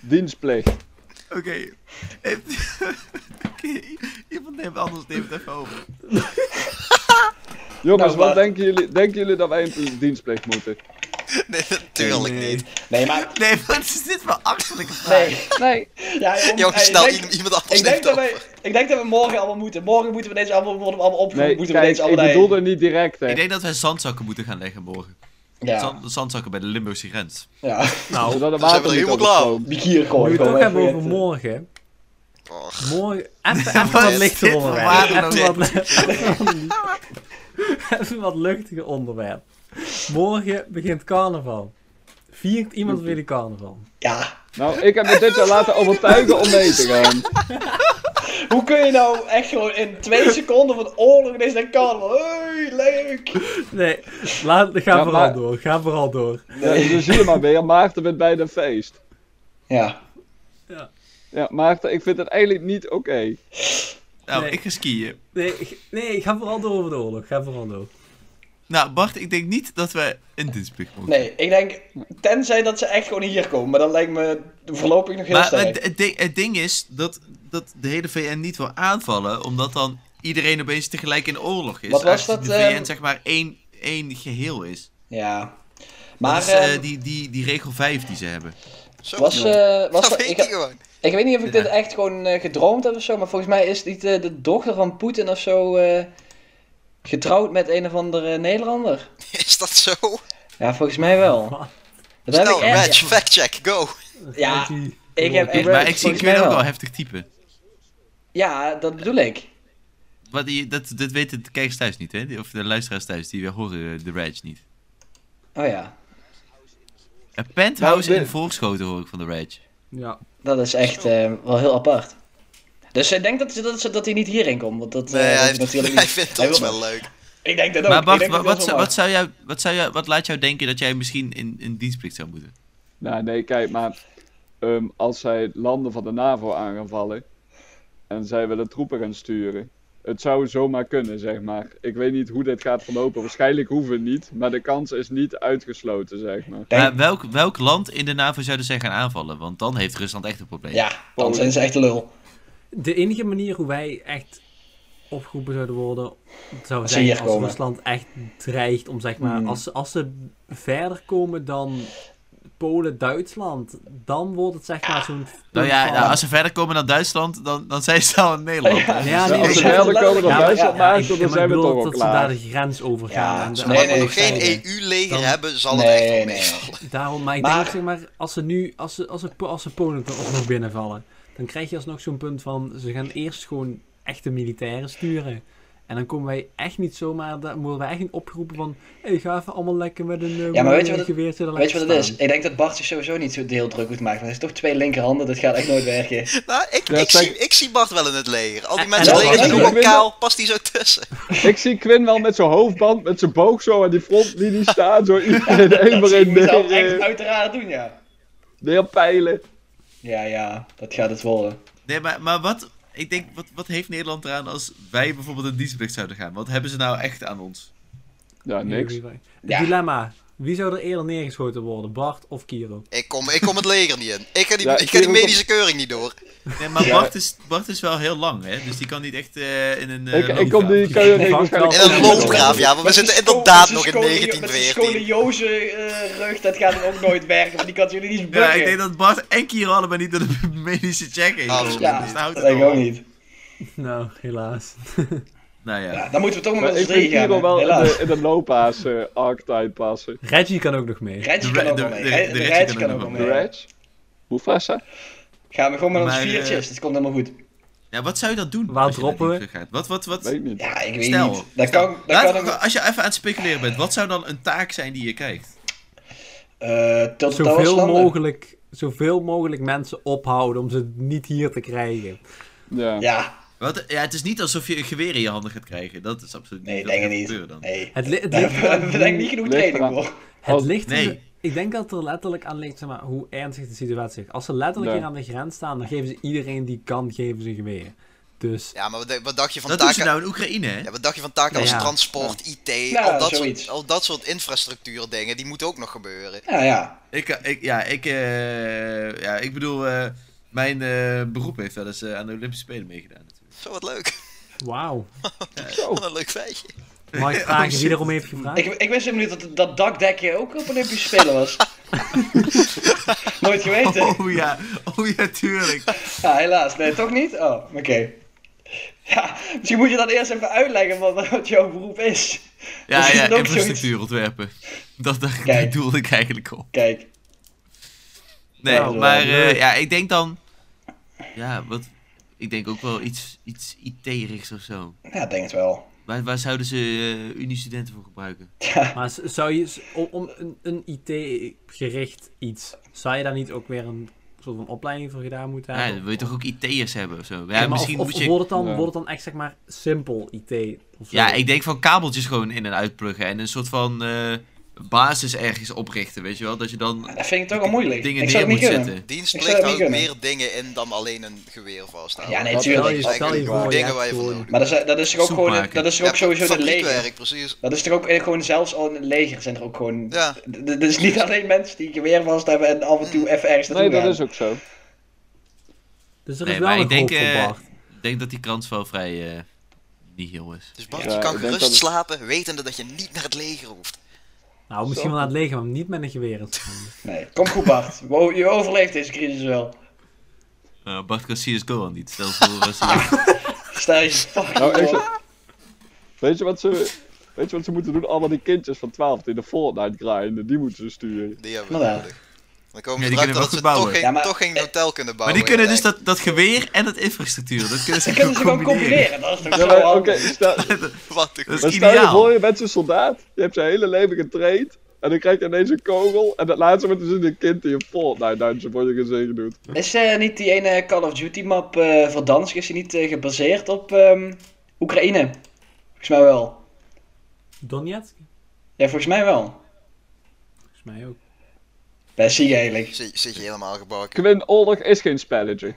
[SPEAKER 4] Dienstplicht.
[SPEAKER 2] Oké. Oké, Iemand neemt anders neemt het even over.
[SPEAKER 4] Jongens, wat
[SPEAKER 5] Nou, maar-
[SPEAKER 4] denken jullie, denken jullie dat wij een dienstplicht moeten?
[SPEAKER 3] Nee, natuurlijk
[SPEAKER 6] Nee.
[SPEAKER 3] niet.
[SPEAKER 5] nee, maar...
[SPEAKER 2] Nee, wat is dit voor achterlijke vraag?
[SPEAKER 5] Nee, nee. Ja, om-
[SPEAKER 3] Jongens,
[SPEAKER 5] eh,
[SPEAKER 3] snel,
[SPEAKER 5] ik denk-
[SPEAKER 3] i- iemand anders
[SPEAKER 5] ik denk,
[SPEAKER 3] neemt
[SPEAKER 5] dat
[SPEAKER 3] over.
[SPEAKER 5] wij, ik denk dat we morgen allemaal moeten. Morgen moeten we deze allemaal, worden we allemaal opgevoed.
[SPEAKER 4] Nee,
[SPEAKER 5] moeten we
[SPEAKER 4] kijk,
[SPEAKER 5] deze
[SPEAKER 4] ik
[SPEAKER 5] allemaal daarheen.
[SPEAKER 4] bedoelde niet direct, hè.
[SPEAKER 2] Ik denk dat wij zandzakken moeten gaan leggen morgen.
[SPEAKER 5] Ja,
[SPEAKER 2] Zand- zandzakken bij de Limburgse grens.
[SPEAKER 5] ja.
[SPEAKER 6] Nou,
[SPEAKER 4] Zodat de
[SPEAKER 3] zijn we
[SPEAKER 4] water
[SPEAKER 3] er
[SPEAKER 4] niet
[SPEAKER 3] helemaal klaar.
[SPEAKER 4] overstroomt.
[SPEAKER 5] Die kier
[SPEAKER 6] nu we
[SPEAKER 5] gewoon.
[SPEAKER 6] het ook
[SPEAKER 5] gewoon
[SPEAKER 6] hebben
[SPEAKER 5] even
[SPEAKER 6] over
[SPEAKER 5] het,
[SPEAKER 6] morgen.
[SPEAKER 3] Och,
[SPEAKER 6] Morgen, even, even wat
[SPEAKER 2] is
[SPEAKER 6] lichter
[SPEAKER 2] dit voor
[SPEAKER 6] onderwerp.
[SPEAKER 4] nou
[SPEAKER 6] Even wat, even wat luchtiger onderwerp. Morgen begint carnaval. Viert iemand weer de carnaval?
[SPEAKER 5] Ja.
[SPEAKER 4] Nou, ik heb me dit jaar laten overtuigen om mee te gaan.
[SPEAKER 5] Hoe kun je nou echt gewoon in twee seconden van oorlog ineens naar carnaval? Hey, leuk!
[SPEAKER 6] Nee, laat, ga
[SPEAKER 4] Ja,
[SPEAKER 6] vooral
[SPEAKER 4] maar-
[SPEAKER 6] door. Ga vooral door.
[SPEAKER 4] Ja, dus zie je maar weer, Maarten bent bij een feest.
[SPEAKER 5] Ja.
[SPEAKER 4] Ja, Maarten, ik vind het eigenlijk niet oké.
[SPEAKER 2] Nou,
[SPEAKER 6] Nee.
[SPEAKER 2] ik ga skiën.
[SPEAKER 6] Nee, ik- nee, ik ga vooral door over de oorlog. Ga vooral door.
[SPEAKER 2] Nou, Bart, ik denk niet dat we in Dinsburg mogen.
[SPEAKER 5] Nee, ik denk, tenzij dat ze echt gewoon hier komen, maar dat lijkt me voorlopig nog heel
[SPEAKER 2] Maar
[SPEAKER 5] sterk.
[SPEAKER 2] het, het ding, het ding is dat, dat de hele VN niet wil aanvallen, omdat dan iedereen opeens tegelijk in oorlog is.
[SPEAKER 5] Wat was
[SPEAKER 2] aangezien
[SPEAKER 5] dat,
[SPEAKER 2] De VN
[SPEAKER 5] ehm?
[SPEAKER 2] zeg maar één, één geheel is.
[SPEAKER 5] Ja.
[SPEAKER 2] Maar,
[SPEAKER 5] Maar
[SPEAKER 2] dat is eh,
[SPEAKER 5] ehm,
[SPEAKER 2] die, die, die regel 5 die ze hebben.
[SPEAKER 3] Zo,
[SPEAKER 5] was, eh was
[SPEAKER 3] dat
[SPEAKER 5] er-
[SPEAKER 3] weet
[SPEAKER 5] ik,
[SPEAKER 3] ik gewoon.
[SPEAKER 5] ik weet niet of ik
[SPEAKER 2] Ja.
[SPEAKER 5] dit echt gewoon eh, gedroomd heb of zo, maar volgens mij is niet eh, de dochter van Poetin of zo eh, getrouwd met een of andere Nederlander.
[SPEAKER 3] Is dat zo?
[SPEAKER 5] Ja, volgens mij wel.
[SPEAKER 6] Wat?
[SPEAKER 5] Dat heb
[SPEAKER 3] Snel,
[SPEAKER 5] ik echt.
[SPEAKER 3] Reg, fact check, go.
[SPEAKER 5] Ja,
[SPEAKER 6] Die-
[SPEAKER 5] Ik heb echt.
[SPEAKER 2] maar ik zie
[SPEAKER 5] volgens
[SPEAKER 2] Quinn
[SPEAKER 5] mij
[SPEAKER 2] ook wel heftig typen.
[SPEAKER 5] Ja, dat bedoel ik.
[SPEAKER 2] Maar die, dat, dat weten de kijkers thuis niet, hè? Die- Of de luisteraars thuis, die horen de Rage niet.
[SPEAKER 5] Oh ja,
[SPEAKER 2] Een penthouse
[SPEAKER 4] Nou, de-
[SPEAKER 2] in Voorschoten hoor ik van de Rage.
[SPEAKER 6] Ja.
[SPEAKER 5] dat is echt eh, wel heel apart. Dus ik denk dat, ze- dat, ze- dat hij niet hierin komt, want dat, eh,
[SPEAKER 3] Nee,
[SPEAKER 5] dat
[SPEAKER 3] hij,
[SPEAKER 5] is
[SPEAKER 3] heeft-
[SPEAKER 5] natuurlijk
[SPEAKER 3] hij
[SPEAKER 5] niet-
[SPEAKER 3] vindt
[SPEAKER 5] hij
[SPEAKER 3] ons
[SPEAKER 5] wil-
[SPEAKER 3] wel leuk.
[SPEAKER 5] Ik denk dat ook.
[SPEAKER 2] Maar
[SPEAKER 5] Ik
[SPEAKER 2] Bart,
[SPEAKER 5] denk
[SPEAKER 2] wat,
[SPEAKER 5] dat hij
[SPEAKER 2] wat,
[SPEAKER 5] dat
[SPEAKER 2] zou-
[SPEAKER 5] wel
[SPEAKER 2] wat, zou
[SPEAKER 5] mag.
[SPEAKER 2] jou, wat, zou jou, wat laat jou denken dat jij misschien in, in dienstplicht zou moeten?
[SPEAKER 4] Nou, nee, kijk, maar ehm, als zij landen van de NAVO aan gaan vallen en zij willen troepen gaan sturen, het zou zomaar kunnen, zeg maar. Ik weet niet hoe dit gaat verlopen. Waarschijnlijk hoeven we niet, maar de kans is niet uitgesloten, zeg maar.
[SPEAKER 5] Denk-
[SPEAKER 2] Maar Eh, welk, welk land in de NAVO zouden zij gaan aanvallen? Want dan heeft Rusland echt een probleem.
[SPEAKER 5] Ja, dan zijn ze echt lul.
[SPEAKER 6] De enige manier hoe wij echt opgeroepen zouden worden, zou
[SPEAKER 5] Als ze
[SPEAKER 6] zijn
[SPEAKER 5] hier
[SPEAKER 6] als
[SPEAKER 5] komen.
[SPEAKER 6] Rusland echt dreigt om zeg maar,
[SPEAKER 5] Hmm.
[SPEAKER 6] als, ze- als ze verder komen dan Polen, Duitsland, dan wordt het zeg maar zo'n...
[SPEAKER 2] Nou ja,
[SPEAKER 6] punt van-
[SPEAKER 2] nou, als ze verder komen dan Duitsland, dan, dan zijn ze al in Nederland. hè?
[SPEAKER 6] Ja, nee,
[SPEAKER 4] als
[SPEAKER 6] dat-
[SPEAKER 4] ze
[SPEAKER 5] zijn
[SPEAKER 4] verder
[SPEAKER 5] ze
[SPEAKER 4] komen dan
[SPEAKER 5] letterlijk-
[SPEAKER 4] Duitsland
[SPEAKER 5] ja, ja,
[SPEAKER 4] maakt,
[SPEAKER 6] ik-
[SPEAKER 4] dan
[SPEAKER 6] maar ik
[SPEAKER 4] zijn we
[SPEAKER 6] bedoel
[SPEAKER 4] toch al
[SPEAKER 6] dat ze daar de
[SPEAKER 4] klaar.
[SPEAKER 6] grens over
[SPEAKER 5] Ja,
[SPEAKER 6] gaan. en de-
[SPEAKER 5] nee, nee,
[SPEAKER 3] Zolang we
[SPEAKER 5] nee,
[SPEAKER 3] nog geen
[SPEAKER 5] nee.
[SPEAKER 3] EU-leger
[SPEAKER 6] Dan-
[SPEAKER 3] hebben, zal het echt
[SPEAKER 5] Nee,
[SPEAKER 3] wel
[SPEAKER 5] nee.
[SPEAKER 3] meevallen.
[SPEAKER 6] Daarom, maar ik
[SPEAKER 5] Maar-
[SPEAKER 6] denk ook, zeg maar, als ze nu, als ze, als ze, Po- als ze Polen toch ook nog binnenvallen, dan krijg je alsnog zo'n punt van, ze gaan eerst gewoon echte militairen sturen. En dan komen wij echt niet zomaar, dan worden wij echt niet opgeroepen van, hé, ga even allemaal lekker met een eh,
[SPEAKER 5] Ja, maar weet je
[SPEAKER 6] mooi
[SPEAKER 5] wat het-
[SPEAKER 6] geweer zitten
[SPEAKER 5] Weet je
[SPEAKER 6] laten
[SPEAKER 5] wat het is?
[SPEAKER 6] staan.
[SPEAKER 5] Ik denk dat Bart zich sowieso niet zo heel druk moet maken. want Hij heeft toch twee linkerhanden, dat gaat echt nooit werken.
[SPEAKER 3] Nou, ik,
[SPEAKER 4] Ja,
[SPEAKER 3] ik,
[SPEAKER 4] kijk-
[SPEAKER 3] zie, ik zie Bart wel in het leger. Al die
[SPEAKER 6] En-
[SPEAKER 3] mensen
[SPEAKER 5] en-
[SPEAKER 3] leger zijn
[SPEAKER 5] en-
[SPEAKER 3] ook al
[SPEAKER 4] en-
[SPEAKER 3] kaal, past die zo tussen.
[SPEAKER 4] Ik zie Quinn wel met zijn hoofdband, met zijn boog zo aan die frontlinie staan, zo iedereen één voor
[SPEAKER 5] Dat
[SPEAKER 4] één
[SPEAKER 5] moet ze al echt
[SPEAKER 4] neer, eh,
[SPEAKER 5] uiteraard doen, ja.
[SPEAKER 4] neerpeilen.
[SPEAKER 5] Ja, ja, dat gaat het worden.
[SPEAKER 2] Nee, maar, maar wat, ik denk, wat, wat heeft Nederland eraan als wij bijvoorbeeld in dienstplicht zouden gaan? Wat hebben ze nou echt aan ons?
[SPEAKER 4] Ja, niks.
[SPEAKER 6] Het
[SPEAKER 5] Ja.
[SPEAKER 6] dilemma. Wie zou er eerder neergeschoten worden, Bart of Kiro?
[SPEAKER 3] Ik kom, ik kom het leger niet in. Ik ga die,
[SPEAKER 4] Ja,
[SPEAKER 3] ik ga die
[SPEAKER 4] Kerel komt-
[SPEAKER 3] medische keuring niet door.
[SPEAKER 2] Nee, maar
[SPEAKER 5] Ja.
[SPEAKER 2] Bart, is, Bart is wel heel lang, hè? Dus die kan niet echt eh, in een. eh,
[SPEAKER 4] Ik, ik
[SPEAKER 2] loopgraaf.
[SPEAKER 4] kom die keuring
[SPEAKER 6] Ja.
[SPEAKER 5] Oh,
[SPEAKER 4] waarschijnlijk
[SPEAKER 3] In een
[SPEAKER 4] niet meer door.
[SPEAKER 3] loopgraaf, ja, want we
[SPEAKER 5] Met
[SPEAKER 3] zitten
[SPEAKER 5] die scho-
[SPEAKER 3] inderdaad
[SPEAKER 5] met
[SPEAKER 3] nog in
[SPEAKER 5] die schone- Met die
[SPEAKER 3] 1914.
[SPEAKER 5] schone rug, dat gaat ook nooit werken, want die kan jullie niet
[SPEAKER 2] Ja, ik
[SPEAKER 5] bukken.
[SPEAKER 2] denk dat Bart en Kiro allebei niet door de medische check heen
[SPEAKER 3] Ah,
[SPEAKER 2] komen.
[SPEAKER 5] Ja,
[SPEAKER 2] Dus daar houdt
[SPEAKER 5] dat
[SPEAKER 2] het
[SPEAKER 5] denk ik
[SPEAKER 2] al
[SPEAKER 5] ook
[SPEAKER 2] op.
[SPEAKER 5] niet.
[SPEAKER 6] Nou, helaas.
[SPEAKER 2] Nou ja.
[SPEAKER 5] Ja, dan moeten we toch maar
[SPEAKER 4] Maar
[SPEAKER 5] met
[SPEAKER 4] ik
[SPEAKER 5] z'n
[SPEAKER 4] vind
[SPEAKER 5] drieën
[SPEAKER 4] Kiro
[SPEAKER 5] gaan,
[SPEAKER 4] wel in
[SPEAKER 5] helaas.
[SPEAKER 4] de, in de loophaas eh, archetype passen.
[SPEAKER 6] Reggie kan ook nog mee.
[SPEAKER 5] Redje
[SPEAKER 2] de-
[SPEAKER 5] kan ook
[SPEAKER 2] de-
[SPEAKER 5] wel
[SPEAKER 2] de-
[SPEAKER 5] mee.
[SPEAKER 2] de
[SPEAKER 5] Red-
[SPEAKER 2] Reggie
[SPEAKER 5] Redje
[SPEAKER 2] kan
[SPEAKER 5] kan ook
[SPEAKER 2] ook
[SPEAKER 5] wel
[SPEAKER 4] De
[SPEAKER 5] mee.
[SPEAKER 4] Reds? Mufasa?
[SPEAKER 5] Gaan we gewoon met ons
[SPEAKER 2] Maar, eh,
[SPEAKER 5] viertjes, dat komt helemaal goed.
[SPEAKER 2] Ja, wat zou je dan doen?
[SPEAKER 6] Waar
[SPEAKER 2] als je naar
[SPEAKER 6] droppen we?
[SPEAKER 2] Diepte gaat? Wat, wat, wat?
[SPEAKER 4] Weet niet.
[SPEAKER 5] Ja, ik weet
[SPEAKER 2] Stel.
[SPEAKER 5] niet. Dat kan, dat
[SPEAKER 2] Laat-
[SPEAKER 5] kan ook...
[SPEAKER 2] als je even aan het speculeren bent, wat zou dan een taak zijn die je krijgt?
[SPEAKER 5] eh tot de
[SPEAKER 6] Zoveel
[SPEAKER 5] towerstanden.
[SPEAKER 6] mogelijk, zoveel mogelijk mensen ophouden om ze niet hier te krijgen.
[SPEAKER 4] Ja.
[SPEAKER 5] Ja,
[SPEAKER 2] Wat, ja, het is niet alsof je een geweer in je handen gaat krijgen. Dat is absoluut
[SPEAKER 5] nee,
[SPEAKER 2] niet.
[SPEAKER 5] ik
[SPEAKER 2] dat
[SPEAKER 5] denk het
[SPEAKER 2] gaat
[SPEAKER 5] niet.
[SPEAKER 2] gebeuren Dan.
[SPEAKER 5] Nee.
[SPEAKER 6] Het, li- het
[SPEAKER 5] Daar
[SPEAKER 6] ligt eraan
[SPEAKER 5] hebben we denk ik niet genoeg
[SPEAKER 4] Ligt
[SPEAKER 5] training
[SPEAKER 4] eraan.
[SPEAKER 5] voor.
[SPEAKER 6] Het
[SPEAKER 4] Als-
[SPEAKER 6] ligt er-
[SPEAKER 2] Nee.
[SPEAKER 6] Ik denk dat het er letterlijk aan ligt zeg maar, hoe ernstig de situatie is. Als ze letterlijk
[SPEAKER 4] Ja.
[SPEAKER 6] hier aan de grens staan, dan geven ze iedereen die kan, geven ze een geweer. Dus
[SPEAKER 3] Ja, maar wat, wat dacht je van
[SPEAKER 2] Dat doen ze
[SPEAKER 3] taken?
[SPEAKER 2] nou in Oekraïne, hè?
[SPEAKER 3] Ja, wat dacht je van taken als
[SPEAKER 6] Ja.
[SPEAKER 3] transport, IT,
[SPEAKER 5] Ja,
[SPEAKER 3] al, dat
[SPEAKER 5] zoiets.
[SPEAKER 3] soort, al dat soort infrastructuurdingen, die moeten ook nog gebeuren.
[SPEAKER 5] Ja, ja.
[SPEAKER 2] Ik, ik, ja, ik, eh, ja, ik bedoel, eh, mijn eh, beroep heeft wel eens eh, aan de Olympische Spelen meegedaan. natuurlijk.
[SPEAKER 3] Zo wat leuk.
[SPEAKER 6] wauw.
[SPEAKER 3] Wat een leuk feitje.
[SPEAKER 6] Mag ik
[SPEAKER 2] Oh,
[SPEAKER 6] vragen
[SPEAKER 2] shit.
[SPEAKER 6] wie erom heeft gevraagd?
[SPEAKER 5] Ik, ik wist helemaal niet dat dat dakdekje ook op Olympische Spelen was. Nooit geweten.
[SPEAKER 2] Oh ja, oh ja, tuurlijk.
[SPEAKER 5] Ja, helaas. Nee, toch niet? Oh, oké. Ja, misschien moet je dat eerst even uitleggen wat, wat jouw beroep is.
[SPEAKER 2] Ja,
[SPEAKER 5] Dat is
[SPEAKER 2] ja,
[SPEAKER 5] ook
[SPEAKER 2] infrastructuur ontwerpen. Dat dacht ik, die
[SPEAKER 5] Kijk.
[SPEAKER 2] doelde ik eigenlijk op.
[SPEAKER 5] Kijk,
[SPEAKER 2] Nee,
[SPEAKER 5] Nou,
[SPEAKER 2] maar
[SPEAKER 6] eh,
[SPEAKER 2] eh, ja, ik denk dan. Ja, wat. Ik denk ook wel iets, iets IT-rigs of zo.
[SPEAKER 5] ja, ik denk het wel.
[SPEAKER 2] Waar, waar zouden ze eh Unie-studenten voor gebruiken?
[SPEAKER 6] Maar z- zou je, s- om, om een, een IT-gericht iets, zou je daar niet ook weer een soort van opleiding voor gedaan moeten
[SPEAKER 2] Ja,
[SPEAKER 6] hebben?
[SPEAKER 2] dan wil je toch ook IT'ers hebben of zo? Ja,
[SPEAKER 6] Ja, maar
[SPEAKER 2] misschien
[SPEAKER 6] of, of
[SPEAKER 2] moet je.
[SPEAKER 6] wordt, het dan,
[SPEAKER 4] Ja.
[SPEAKER 6] wordt het dan echt zeg maar simpel IT? Of zo?
[SPEAKER 2] Ja, ik denk van kabeltjes gewoon in en uitpluggen en een soort van. eh, basis ergens oprichten, weet je wel? Dat je dan
[SPEAKER 5] Dat vind ik toch wel moeilijk.
[SPEAKER 2] dingen
[SPEAKER 5] ik zou
[SPEAKER 2] neer moet
[SPEAKER 5] het niet kunnen.
[SPEAKER 2] zetten.
[SPEAKER 5] Ik
[SPEAKER 3] Dienstplicht
[SPEAKER 5] zou het niet
[SPEAKER 3] houdt
[SPEAKER 5] kunnen.
[SPEAKER 3] meer dingen in dan alleen een geweer vasthouden.
[SPEAKER 5] Ja, nee,
[SPEAKER 3] Dat zijn
[SPEAKER 5] tuurlijk.
[SPEAKER 6] Stel je- stel je
[SPEAKER 3] gewoon
[SPEAKER 6] voor,
[SPEAKER 3] dingen
[SPEAKER 6] ja,
[SPEAKER 3] waar je van
[SPEAKER 6] cool.
[SPEAKER 3] nodig
[SPEAKER 5] Maar dat is, dat is er ook
[SPEAKER 2] Soep
[SPEAKER 5] gewoon,
[SPEAKER 2] maken.
[SPEAKER 5] dat is er ook
[SPEAKER 3] Ja,
[SPEAKER 5] sowieso een leger.
[SPEAKER 3] fabriekwerk, precies.
[SPEAKER 5] Dat is er ook eh, gewoon zelfs al in het leger zijn er ook gewoon.
[SPEAKER 3] Ja.
[SPEAKER 5] D- d- Dat is niet alleen mensen die een geweer vast hebben en af en toe even ergens naartoe
[SPEAKER 4] Nee, dat
[SPEAKER 5] gaan.
[SPEAKER 4] is ook zo.
[SPEAKER 6] Dus er
[SPEAKER 2] Nee,
[SPEAKER 6] is wel
[SPEAKER 2] maar
[SPEAKER 6] een
[SPEAKER 2] ik denk,
[SPEAKER 6] hoop voor
[SPEAKER 2] eh,
[SPEAKER 6] Bart.
[SPEAKER 2] Ik denk dat die kans wel vrij eh, niet heel is.
[SPEAKER 3] Dus Bart,
[SPEAKER 4] Ja,
[SPEAKER 3] je
[SPEAKER 4] ik
[SPEAKER 3] kan
[SPEAKER 4] denk
[SPEAKER 3] gerust
[SPEAKER 4] dat het-
[SPEAKER 3] slapen, wetende dat je niet naar het leger hoeft.
[SPEAKER 6] Nou, misschien wel aan het leger, maar niet met een geweer. in het handen.
[SPEAKER 5] Nee, kom goed Bart. Wow, je overleeft deze crisis wel.
[SPEAKER 2] Eh, Bart kan CSGO aan niet. Stel voor als hij...
[SPEAKER 5] Stel je fucking
[SPEAKER 4] Nou, ik
[SPEAKER 5] voor.
[SPEAKER 4] zou- Weet je wat ze... Weet je wat ze moeten doen? Allemaal die kindjes van 12 die de Fortnite grinden, die moeten ze sturen.
[SPEAKER 3] Die hebben we
[SPEAKER 5] Nou ja.
[SPEAKER 3] nodig. Dan komen
[SPEAKER 2] Ja,
[SPEAKER 3] we
[SPEAKER 2] die
[SPEAKER 3] erachter
[SPEAKER 2] kunnen we
[SPEAKER 3] dat
[SPEAKER 2] goed bouwen.
[SPEAKER 3] ze toch geen,
[SPEAKER 5] Ja, maar- eh,
[SPEAKER 3] toch geen hotel kunnen
[SPEAKER 2] Maar
[SPEAKER 3] bouwen.
[SPEAKER 2] die kunnen dus
[SPEAKER 3] uiteindelijk.
[SPEAKER 2] dat, dat geweer en het infrastructuur, dat kunnen ze
[SPEAKER 5] Dan kunnen ze gewoon
[SPEAKER 2] gewoon combineren.
[SPEAKER 5] combineren. Dat is toch
[SPEAKER 4] Ja,
[SPEAKER 5] zo
[SPEAKER 4] maar oké,
[SPEAKER 5] handig.
[SPEAKER 4] stel,
[SPEAKER 3] Wat een
[SPEAKER 2] Dat Dus-
[SPEAKER 4] maar
[SPEAKER 2] is
[SPEAKER 4] stel je voor,
[SPEAKER 2] ideaal.
[SPEAKER 4] je bent zo'n soldaat, je hebt zijn hele leven getraind, en dan krijg je ineens een kogel, en dat laatste moment is het een kind die een Fortnite duitje voor je gezin doet.
[SPEAKER 5] Is eh, niet die ene Call of Duty map eh van Dansk, is die niet eh, gebaseerd op ehm, Oekraïne? Volgens mij wel.
[SPEAKER 6] Donetsk?
[SPEAKER 5] Ja, volgens mij wel.
[SPEAKER 6] Volgens mij ook.
[SPEAKER 5] Dat zie je eigenlijk.
[SPEAKER 3] Zit, zit je helemaal gebakken.
[SPEAKER 4] Kwin Oorlog is geen spelletje.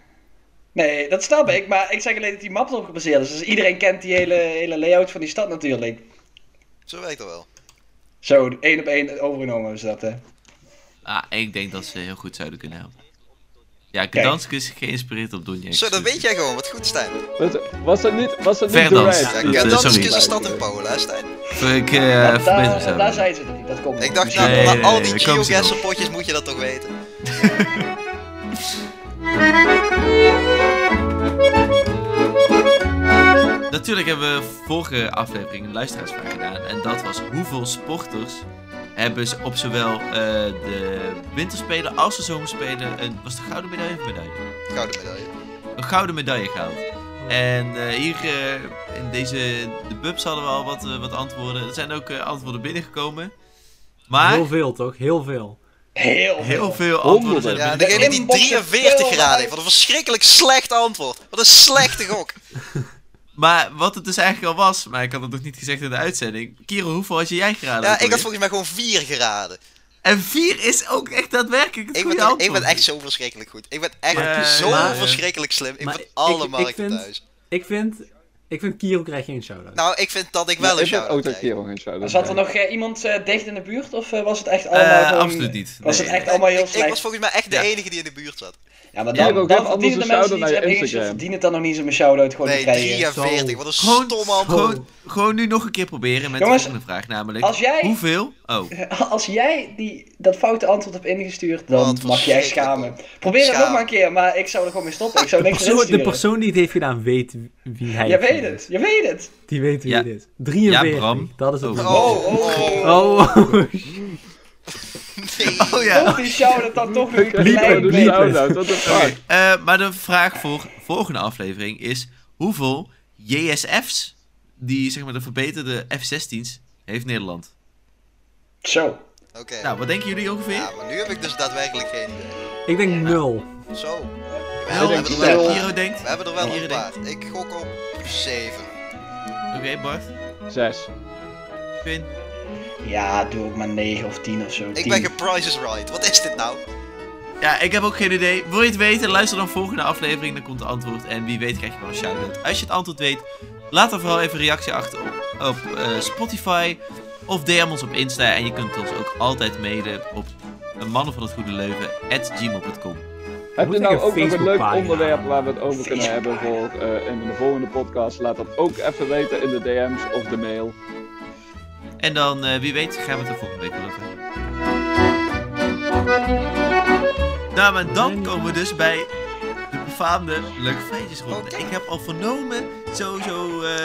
[SPEAKER 5] Nee, dat snap ik, maar ik zeg alleen dat die map erop gebaseerd is. Dus iedereen kent die hele, hele layout van die stad natuurlijk.
[SPEAKER 3] Zo werkt dat wel.
[SPEAKER 5] Zo, één op één overgenomen is dat, hè.
[SPEAKER 2] Ah, en ik denk dat ze heel goed zouden kunnen helpen. Ja, Gdansk is geïnspireerd op Donetsk. dus-
[SPEAKER 3] Zo, dat weet jij gewoon. Wat goed, Stijn.
[SPEAKER 4] Was- Was dat niet, was dat niet
[SPEAKER 2] Verdans.
[SPEAKER 4] Durant?
[SPEAKER 3] Ja,
[SPEAKER 2] dat, eh,
[SPEAKER 3] Gdansk
[SPEAKER 2] sorry.
[SPEAKER 3] is een stad in Polen, hè, Stijn?
[SPEAKER 2] Voor ik eh verbeter
[SPEAKER 5] Want daar, daar
[SPEAKER 2] zou.
[SPEAKER 5] zijn ze nog niet, dat komt nog.
[SPEAKER 3] Ik dacht,
[SPEAKER 5] Misschien
[SPEAKER 3] na,
[SPEAKER 2] Nee,
[SPEAKER 3] na
[SPEAKER 5] wel.
[SPEAKER 2] nee,
[SPEAKER 3] al
[SPEAKER 2] nee,
[SPEAKER 3] die
[SPEAKER 2] daar komen ze nog.
[SPEAKER 3] geoguessr potjes moet je dat toch weten.
[SPEAKER 2] Natuurlijk hebben we vorige aflevering een luisteraarsvraag gedaan. En dat was hoeveel sporters hebben ze op zowel eh, de winterspelen als de zomerspelen een... Was het een gouden medaille of medaille?
[SPEAKER 3] Gouden medaille.
[SPEAKER 2] een gouden medaille gehaald. En eh, hier eh, in deze de bubs hadden we al wat, eh, wat antwoorden. Er zijn ook eh, antwoorden binnengekomen. Maar
[SPEAKER 6] Heel veel toch? Heel veel.
[SPEAKER 5] Heel veel.
[SPEAKER 2] heel veel antwoorden zijn er
[SPEAKER 3] Ja,
[SPEAKER 2] binnen-
[SPEAKER 3] degene die
[SPEAKER 5] Inboxen
[SPEAKER 3] 43
[SPEAKER 5] veel
[SPEAKER 3] graden
[SPEAKER 5] uit.
[SPEAKER 3] heeft. Wat een verschrikkelijk slecht antwoord. Wat een slechte gok.
[SPEAKER 2] Maar wat het dus eigenlijk al was, maar ik had het nog niet gezegd in de uitzending. Kiro, hoeveel had je jij geraden?
[SPEAKER 3] Ja,
[SPEAKER 2] ook
[SPEAKER 3] ik had
[SPEAKER 2] alweer?
[SPEAKER 3] volgens mij gewoon 4 graden.
[SPEAKER 2] En vier is ook echt daadwerkelijk het
[SPEAKER 3] Ik ben,
[SPEAKER 2] goede
[SPEAKER 3] toch- ik
[SPEAKER 2] antwoord.
[SPEAKER 3] ben echt zo verschrikkelijk goed. Ik ben echt
[SPEAKER 2] Maar-
[SPEAKER 3] zo
[SPEAKER 2] maar-
[SPEAKER 3] verschrikkelijk slim. Ik
[SPEAKER 6] maar
[SPEAKER 3] ben
[SPEAKER 6] ik-
[SPEAKER 3] alle
[SPEAKER 6] ik
[SPEAKER 3] markten
[SPEAKER 6] vind-
[SPEAKER 3] thuis.
[SPEAKER 6] Ik vind, ik vind Kiro krijgt geen shout-out.
[SPEAKER 3] Nou, ik vind dat ik wel een
[SPEAKER 4] Ik heb ook
[SPEAKER 3] shout-out
[SPEAKER 4] dat
[SPEAKER 3] krijg.
[SPEAKER 4] Kiro geen shout-out
[SPEAKER 5] Zat er
[SPEAKER 4] krijgt.
[SPEAKER 5] nog eh, iemand eh, dicht in de buurt, of eh, was het echt
[SPEAKER 2] Eh,
[SPEAKER 5] allemaal gewoon-
[SPEAKER 2] absoluut niet.
[SPEAKER 5] Was
[SPEAKER 2] Nee.
[SPEAKER 5] het echt allemaal Oh, heel
[SPEAKER 3] Ik, ik was
[SPEAKER 5] slecht?
[SPEAKER 3] volgens mij echt de
[SPEAKER 2] Ja.
[SPEAKER 3] enige die in de buurt zat.
[SPEAKER 5] Ja, maar
[SPEAKER 6] Jij
[SPEAKER 5] dan,
[SPEAKER 6] hebt
[SPEAKER 4] ook
[SPEAKER 5] dan
[SPEAKER 4] heel anders
[SPEAKER 5] verdienen de
[SPEAKER 4] een
[SPEAKER 5] mensen die
[SPEAKER 4] shout-out naar
[SPEAKER 5] iets
[SPEAKER 4] je
[SPEAKER 5] hebben ingestuurd,
[SPEAKER 4] Instagram.
[SPEAKER 5] verdienen het dan nog niet zo'n shout-out gewoon
[SPEAKER 3] Nee,
[SPEAKER 5] te krijgen.
[SPEAKER 3] 43. Wat een
[SPEAKER 2] Gewoon,
[SPEAKER 3] stom antwoord.
[SPEAKER 2] gewoon, gewoon nu nog een keer proberen met
[SPEAKER 5] Jongens,
[SPEAKER 2] de volgende vraag. Namelijk,
[SPEAKER 5] als jij-
[SPEAKER 2] hoeveel... Oh,
[SPEAKER 5] Als jij die, dat foute antwoord hebt ingestuurd, dan
[SPEAKER 3] Wat
[SPEAKER 5] mag jij schamen.
[SPEAKER 3] verschrikkelijk.
[SPEAKER 5] Probeer het
[SPEAKER 3] Schaam.
[SPEAKER 5] nog maar een keer, maar ik zou er gewoon mee stoppen. Ik zou
[SPEAKER 6] de,
[SPEAKER 5] niks erin
[SPEAKER 6] persoon, de
[SPEAKER 5] sturen.
[SPEAKER 6] persoon die het heeft gedaan weet wie hij
[SPEAKER 5] Je
[SPEAKER 6] is.
[SPEAKER 5] weet het, je weet het.
[SPEAKER 6] Die weet wie
[SPEAKER 2] Ja.
[SPEAKER 6] het is. 43.
[SPEAKER 2] Ja, Bram.
[SPEAKER 6] Dat is het.
[SPEAKER 2] Oh.
[SPEAKER 6] nummer.
[SPEAKER 3] Oh,
[SPEAKER 5] Oh, oh, oh.
[SPEAKER 6] Oh,
[SPEAKER 3] nee.
[SPEAKER 2] oh ja.
[SPEAKER 5] Toch die shout-out dan toch nog een
[SPEAKER 4] Ik heb
[SPEAKER 5] klein
[SPEAKER 4] gewoon een
[SPEAKER 6] Bliep.
[SPEAKER 5] beetje.
[SPEAKER 4] shout-out, what the fuck.
[SPEAKER 2] Eh, maar de vraag voor volgende aflevering is: hoeveel JSF's, die zeg maar de verbeterde F-16's, heeft Nederland?
[SPEAKER 5] Zo.
[SPEAKER 3] Oké.
[SPEAKER 2] Nou, wat denken jullie ongeveer?
[SPEAKER 3] Ja, maar nu heb ik dus daadwerkelijk geen idee.
[SPEAKER 6] ik denk nul.
[SPEAKER 3] Zo. We
[SPEAKER 2] Wel,
[SPEAKER 3] hebben,
[SPEAKER 4] denk
[SPEAKER 3] er
[SPEAKER 4] het
[SPEAKER 3] wel,
[SPEAKER 2] wat
[SPEAKER 4] wel.
[SPEAKER 2] Hiro denkt.
[SPEAKER 3] we hebben er wel
[SPEAKER 2] Hier
[SPEAKER 3] een paar. Ik gok op 7.
[SPEAKER 2] Oké, Bart,
[SPEAKER 4] Zes.
[SPEAKER 2] Pin.
[SPEAKER 5] Ja, doe ook maar 9 of 10 of zo.
[SPEAKER 3] Ik
[SPEAKER 5] 10.
[SPEAKER 3] ben ge Price is Right. Wat is dit nou?
[SPEAKER 2] Ja, ik heb ook geen idee. Wil je het weten? Luister dan volgende aflevering, dan komt het antwoord. En wie weet krijg je wel een shout-out. Als je het antwoord weet, laat dan vooral even een reactie achter op, op eh, Spotify of DM ons op Insta. En je kunt ons ook altijd mailen op mannen van het goede leuven
[SPEAKER 4] Heb
[SPEAKER 6] Moet
[SPEAKER 4] je
[SPEAKER 6] ik
[SPEAKER 4] nou
[SPEAKER 6] een
[SPEAKER 4] ook nog een leuk
[SPEAKER 6] Facebookpagina
[SPEAKER 4] onderwerp
[SPEAKER 6] aan?
[SPEAKER 4] waar we het over kunnen hebben voor eh, een van de volgende podcasts? Laat dat ook even weten in de DM's of de mail.
[SPEAKER 2] En dan, eh, wie weet, gaan we het er volgende week wel over hebben. Nou, maar dan komen we dus bij de befaamde leuke feitjesronde.
[SPEAKER 3] Oké.
[SPEAKER 2] Ik heb al vernomen, sowieso eh,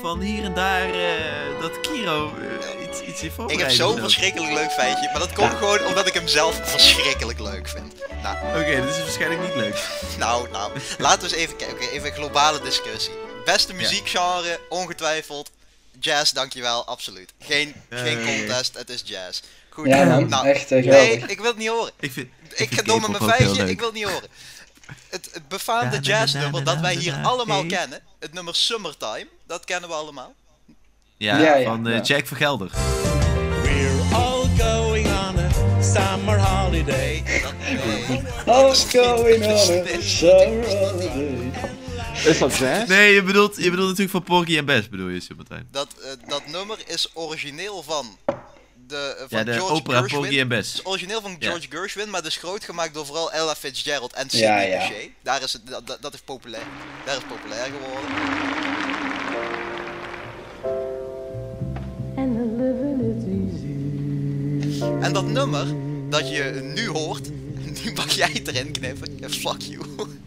[SPEAKER 2] van hier en daar, eh, dat Kiro eh, iets, iets in
[SPEAKER 3] Ik
[SPEAKER 2] voorbereid
[SPEAKER 3] heb
[SPEAKER 2] is
[SPEAKER 3] zo'n
[SPEAKER 2] ook.
[SPEAKER 3] verschrikkelijk leuk feitje. Maar dat komt gewoon omdat ik hem zelf verschrikkelijk leuk vind. Nou,
[SPEAKER 2] Oké, dit is waarschijnlijk niet leuk.
[SPEAKER 3] nou, nou. Laten we eens even kijken. Oké, even een globale discussie. Beste muziekgenre, ongetwijfeld. Jazz, dankjewel, absoluut. Geen, geen
[SPEAKER 2] Eh.
[SPEAKER 3] contest, het is jazz. Goed,
[SPEAKER 5] Ja man,
[SPEAKER 3] nou,
[SPEAKER 5] echt eh,
[SPEAKER 3] nee,
[SPEAKER 5] geweldig.
[SPEAKER 3] ik wil het niet horen.
[SPEAKER 2] Ik vind,
[SPEAKER 3] Ik ga
[SPEAKER 2] vind
[SPEAKER 3] door met mijn
[SPEAKER 2] K-pop ook heel
[SPEAKER 3] feitje,
[SPEAKER 2] leuk.
[SPEAKER 3] ik wil het niet horen. Het, het befaamde
[SPEAKER 2] Da, da, da,
[SPEAKER 3] jazznummer
[SPEAKER 2] da,
[SPEAKER 3] dat wij
[SPEAKER 2] da,
[SPEAKER 3] hier
[SPEAKER 2] da,
[SPEAKER 3] allemaal
[SPEAKER 2] hey.
[SPEAKER 3] kennen, het nummer Summertime, dat kennen we allemaal.
[SPEAKER 2] Ja,
[SPEAKER 5] Ja, ja,
[SPEAKER 2] van eh,
[SPEAKER 5] ja.
[SPEAKER 2] Jack Vergelder.
[SPEAKER 7] We're all summer holiday.
[SPEAKER 5] I'm going on a summer holiday.
[SPEAKER 4] Is dat jazz?
[SPEAKER 2] Nee, je bedoelt, je bedoelt natuurlijk van Porky en Bess, bedoel je, Martijn?
[SPEAKER 3] Dat, eh, dat nummer is origineel van, de, eh, van
[SPEAKER 2] Ja, de
[SPEAKER 3] George
[SPEAKER 2] opera
[SPEAKER 3] Gershwin.
[SPEAKER 2] Porgy en Bess.
[SPEAKER 3] Het is origineel van
[SPEAKER 2] Ja.
[SPEAKER 3] George Gershwin, maar dus groot gemaakt door vooral Ella Fitzgerald en Sidney
[SPEAKER 5] Ja, ja.
[SPEAKER 3] Bechet. Daar is het, dat, dat- dat is populair. Daar is het populair geworden.
[SPEAKER 8] And the living is easy.
[SPEAKER 3] En dat nummer dat je nu hoort, die mag jij erin knippen. Ja, Fuck you.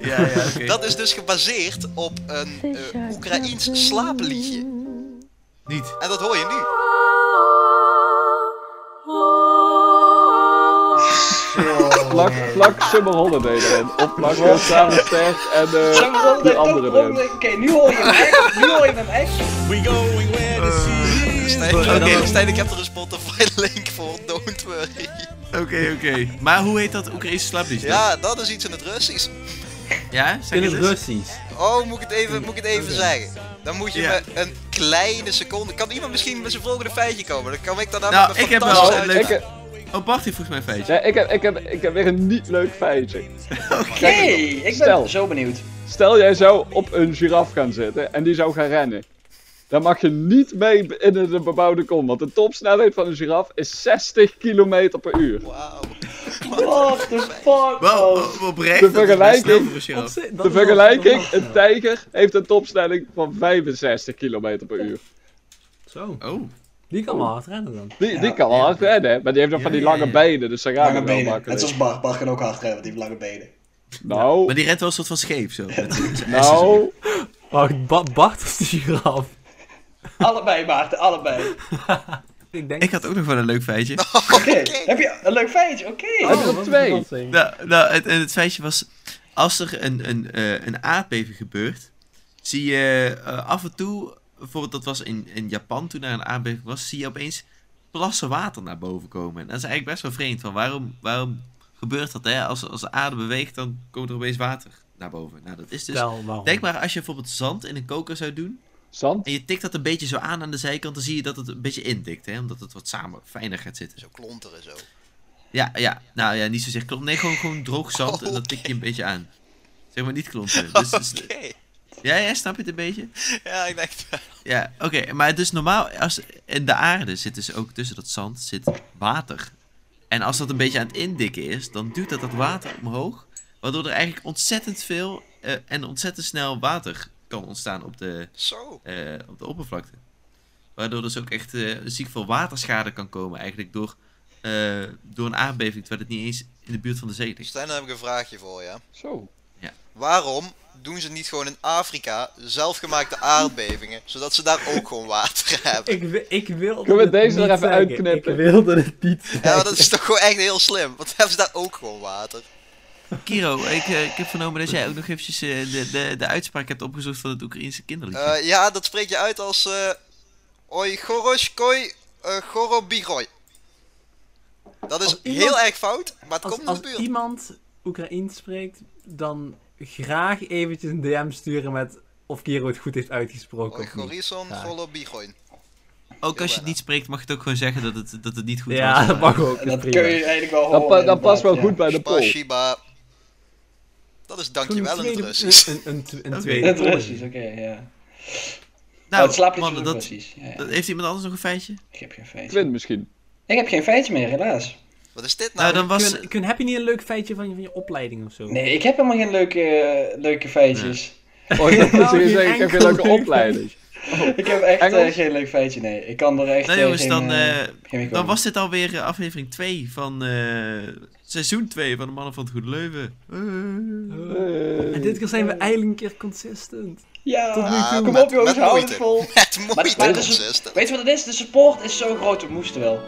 [SPEAKER 2] Ja, ja, oké.
[SPEAKER 3] Dat is dus gebaseerd op een
[SPEAKER 8] Fish
[SPEAKER 3] eh,
[SPEAKER 8] are
[SPEAKER 3] Oekraïens
[SPEAKER 8] jumping.
[SPEAKER 3] slaapliedje.
[SPEAKER 2] Niet.
[SPEAKER 3] En dat hoor je nu.
[SPEAKER 4] Plak, plak Summer Holiday erin. Of plak eh, Samen Sterk en
[SPEAKER 5] Summer
[SPEAKER 4] eh
[SPEAKER 5] holiday,
[SPEAKER 4] die
[SPEAKER 5] toch?
[SPEAKER 4] andere erin.
[SPEAKER 5] Oké, nu hoor je hem echt. Nu hoor je hem echt.
[SPEAKER 7] We going where the sea is.
[SPEAKER 3] Stijn,
[SPEAKER 2] Oké.
[SPEAKER 3] Oké, dus Stijn, ik heb er een Spotify-link voor, don't worry.
[SPEAKER 2] Oké, oké. Maar hoe heet dat Oekraïnse slaaplied?
[SPEAKER 3] Ja, dat is iets in het Russisch.
[SPEAKER 2] Ja,
[SPEAKER 6] In
[SPEAKER 2] zeg
[SPEAKER 6] het
[SPEAKER 2] het eens.
[SPEAKER 6] Russisch.
[SPEAKER 3] Oh, moet ik het even, moet ik het even zeggen? Dan moet je
[SPEAKER 2] Ja.
[SPEAKER 3] me een kleine seconde... Kan iemand misschien met zijn volgende feitje komen? Dan kan ik daarna
[SPEAKER 2] Nou,
[SPEAKER 3] met
[SPEAKER 2] ik heb wel
[SPEAKER 3] fantastische
[SPEAKER 2] een
[SPEAKER 3] uitspraak.
[SPEAKER 2] leuke-
[SPEAKER 4] Ik, heb-
[SPEAKER 2] Oh, Bart heeft volgens mij een feitje.
[SPEAKER 4] nee, ik, heb, ik, heb, ik heb weer een niet leuk feitje.
[SPEAKER 5] Oké, ik ben
[SPEAKER 4] Stel.
[SPEAKER 5] zo benieuwd.
[SPEAKER 4] Stel jij zou op een giraf gaan zitten en die zou gaan rennen. Dan mag je niet mee in de bebouwde kom, want de topsnelheid van een giraf is 60 km per uur.
[SPEAKER 3] Wauw.
[SPEAKER 5] What the fuck,
[SPEAKER 2] Wel,
[SPEAKER 5] man.
[SPEAKER 2] op- oprecht.
[SPEAKER 4] De
[SPEAKER 2] dat is best
[SPEAKER 4] vergelijking.
[SPEAKER 2] snel voor een giraf.
[SPEAKER 4] De vergelijking, een tijger heeft een topsnelheid van 65 km per uur.
[SPEAKER 6] Zo.
[SPEAKER 2] Oh,
[SPEAKER 6] Die kan wel hard rennen dan.
[SPEAKER 4] Die, die kan wel hard rennen, hè, maar die heeft nog van die
[SPEAKER 2] Ja, ja,
[SPEAKER 4] lange
[SPEAKER 2] ja.
[SPEAKER 4] benen, dus daar gaan
[SPEAKER 5] Lange
[SPEAKER 4] we wel
[SPEAKER 5] benen. Net
[SPEAKER 4] makkelijk.
[SPEAKER 5] zoals Bart. Bart kan ook hard rennen, want die heeft lange benen.
[SPEAKER 4] Nou,
[SPEAKER 2] maar die rent wel een soort van scheef zo. Met zijn essen zo.
[SPEAKER 4] nou,
[SPEAKER 6] Wacht, Ba- Bart of de giraf?
[SPEAKER 5] Allebei, Maarten, allebei.
[SPEAKER 6] Ik denk...
[SPEAKER 2] Ik had ook nog wel een leuk feitje.
[SPEAKER 5] Oké, heb je een leuk feitje? Oké.
[SPEAKER 4] heb
[SPEAKER 6] Oh.
[SPEAKER 4] je er twee?
[SPEAKER 2] Nou, nou het, en het feitje was, als er een, een, eh, een aardbeving gebeurt, zie je eh, af en toe, bijvoorbeeld dat was in, in Japan toen er een aardbeving was, zie je opeens plassen water naar boven komen. En dat is eigenlijk best wel vreemd, van waarom, waarom gebeurt dat? Hè? Als, als de aarde beweegt, dan komt er opeens water naar boven. Nou, dat is dus...
[SPEAKER 6] Stel, waarom?
[SPEAKER 2] Denk maar als je bijvoorbeeld zand in een koker zou doen
[SPEAKER 4] zand.
[SPEAKER 2] en je tikt dat een beetje zo aan aan de zijkant, dan zie je dat het een beetje indikt, hè? omdat het wat samen fijner gaat zitten.
[SPEAKER 3] Zo klonteren zo.
[SPEAKER 2] Ja, ja. Nou ja, niet zozeer klomp. Nee, gewoon, gewoon droog zand en dat tik je een beetje aan. Zeg maar niet klompen. Dus, dus-
[SPEAKER 3] Oké.
[SPEAKER 2] ja, ja, snap je het een beetje?
[SPEAKER 3] Ja, ik denk het wel.
[SPEAKER 2] Ja, oké. Maar dus normaal, als, in de aarde zit dus ook tussen dat zand zit water. En als dat een beetje aan het indikken is, dan duwt dat dat water omhoog. Waardoor er eigenlijk ontzettend veel eh, en ontzettend snel water kan ontstaan op de,
[SPEAKER 3] Zo.
[SPEAKER 2] eh, op de oppervlakte. Waardoor dus ook echt eh, ziek veel waterschade kan komen eigenlijk door, eh, door een aardbeving. Terwijl het niet eens in de buurt van de zee ligt.
[SPEAKER 3] Stijn, dan heb ik een vraagje voor je.
[SPEAKER 4] Zo.
[SPEAKER 3] Waarom doen ze niet gewoon in Afrika zelfgemaakte aardbevingen, zodat ze daar ook gewoon water hebben?
[SPEAKER 6] Ik, wi- ik wil
[SPEAKER 4] Kunnen we
[SPEAKER 6] het
[SPEAKER 4] deze
[SPEAKER 6] niet
[SPEAKER 4] er even
[SPEAKER 6] zeggen.
[SPEAKER 4] uitknippen?
[SPEAKER 6] Ik wilde het niet zeggen.
[SPEAKER 3] Ja, maar dat is toch gewoon echt heel slim, want hebben ze daar ook gewoon water?
[SPEAKER 2] Kiro, ik, eh, ik heb vernomen dat jij ook nog eventjes eh, de, de, de uitspraak hebt opgezocht van het Oekraïense kinderliedje.
[SPEAKER 3] Eh, ja, dat spreek je uit als... eh Oi goroshkoi eh, gorobiroi. Dat is
[SPEAKER 6] Als iemand-
[SPEAKER 3] heel erg fout, maar het
[SPEAKER 6] Als,
[SPEAKER 3] komt in de
[SPEAKER 6] als
[SPEAKER 3] buurt.
[SPEAKER 6] iemand Oekraïens spreekt, dan graag eventjes een DM sturen met of Kiro het goed heeft uitgesproken
[SPEAKER 3] Oi
[SPEAKER 6] of niet.
[SPEAKER 3] gorison
[SPEAKER 6] Ja.
[SPEAKER 3] gorobiroi.
[SPEAKER 2] ook als je het niet spreekt, mag je het ook gewoon zeggen dat het, dat het niet goed
[SPEAKER 6] Ja, Nou,
[SPEAKER 2] was.
[SPEAKER 6] dat mag ook.
[SPEAKER 5] En dat
[SPEAKER 6] Dat is
[SPEAKER 5] kun je
[SPEAKER 6] prima.
[SPEAKER 5] eigenlijk wel horen.
[SPEAKER 4] Dat, pa- dat
[SPEAKER 5] Oh, inderdaad,
[SPEAKER 4] past wel
[SPEAKER 5] ja.
[SPEAKER 4] goed bij de poll.
[SPEAKER 3] Spashiba. Dat is
[SPEAKER 6] Gewoon
[SPEAKER 3] dankjewel in het
[SPEAKER 6] tweede-
[SPEAKER 3] Russisch.
[SPEAKER 6] Een, een, een, een
[SPEAKER 2] Oké.
[SPEAKER 5] In
[SPEAKER 6] tweede.
[SPEAKER 5] het
[SPEAKER 6] poging.
[SPEAKER 5] Russisch, oké, ja. Nou,
[SPEAKER 2] Nou,
[SPEAKER 5] het slaapt niet
[SPEAKER 2] mannen,
[SPEAKER 5] zo
[SPEAKER 2] dat,
[SPEAKER 5] precies. Nou, Ja, ja.
[SPEAKER 2] dat, heeft iemand anders nog een feitje?
[SPEAKER 5] Ik heb geen feitje.
[SPEAKER 4] Quinn misschien.
[SPEAKER 5] Ik heb geen feitje meer, helaas.
[SPEAKER 3] Wat is dit nou?
[SPEAKER 2] Nou, dan was...
[SPEAKER 6] Kun, kun, heb je niet een leuk feitje van je, van je opleiding of zo?
[SPEAKER 5] Nee, ik heb helemaal geen leuke, eh, leuke feitjes.
[SPEAKER 4] Oh, ik dacht dat ze
[SPEAKER 6] Nou,
[SPEAKER 4] hier
[SPEAKER 6] geen
[SPEAKER 4] zeggen, ik heb
[SPEAKER 6] enkel
[SPEAKER 4] een leuke
[SPEAKER 6] leuk
[SPEAKER 4] opleiding.
[SPEAKER 5] Ik heb echt eh,
[SPEAKER 4] Engels?
[SPEAKER 5] geen leuk feitje, nee. Ik kan er echt
[SPEAKER 2] Nou
[SPEAKER 5] eh,
[SPEAKER 2] jongens,
[SPEAKER 5] geen,
[SPEAKER 2] dan,
[SPEAKER 5] eh,
[SPEAKER 2] eh,
[SPEAKER 5] geen mee
[SPEAKER 2] dan
[SPEAKER 5] komen.
[SPEAKER 2] was dit alweer eh, aflevering 2 van eh, seizoen 2 van de Mannen van het Goede Leuven. Eh.
[SPEAKER 6] En dit keer zijn we eindelijk een keer consistent.
[SPEAKER 5] Ja,
[SPEAKER 6] tot nu
[SPEAKER 3] Ah, toe.
[SPEAKER 5] kom
[SPEAKER 3] met-
[SPEAKER 5] op jongens,
[SPEAKER 3] met
[SPEAKER 5] hou
[SPEAKER 3] moeite.
[SPEAKER 5] het vol.
[SPEAKER 3] Het
[SPEAKER 5] Maar,
[SPEAKER 3] moeite
[SPEAKER 5] maar het
[SPEAKER 3] om
[SPEAKER 5] is-
[SPEAKER 3] zes te-
[SPEAKER 5] weet je wat het is? De support is zo groot, we moesten wel.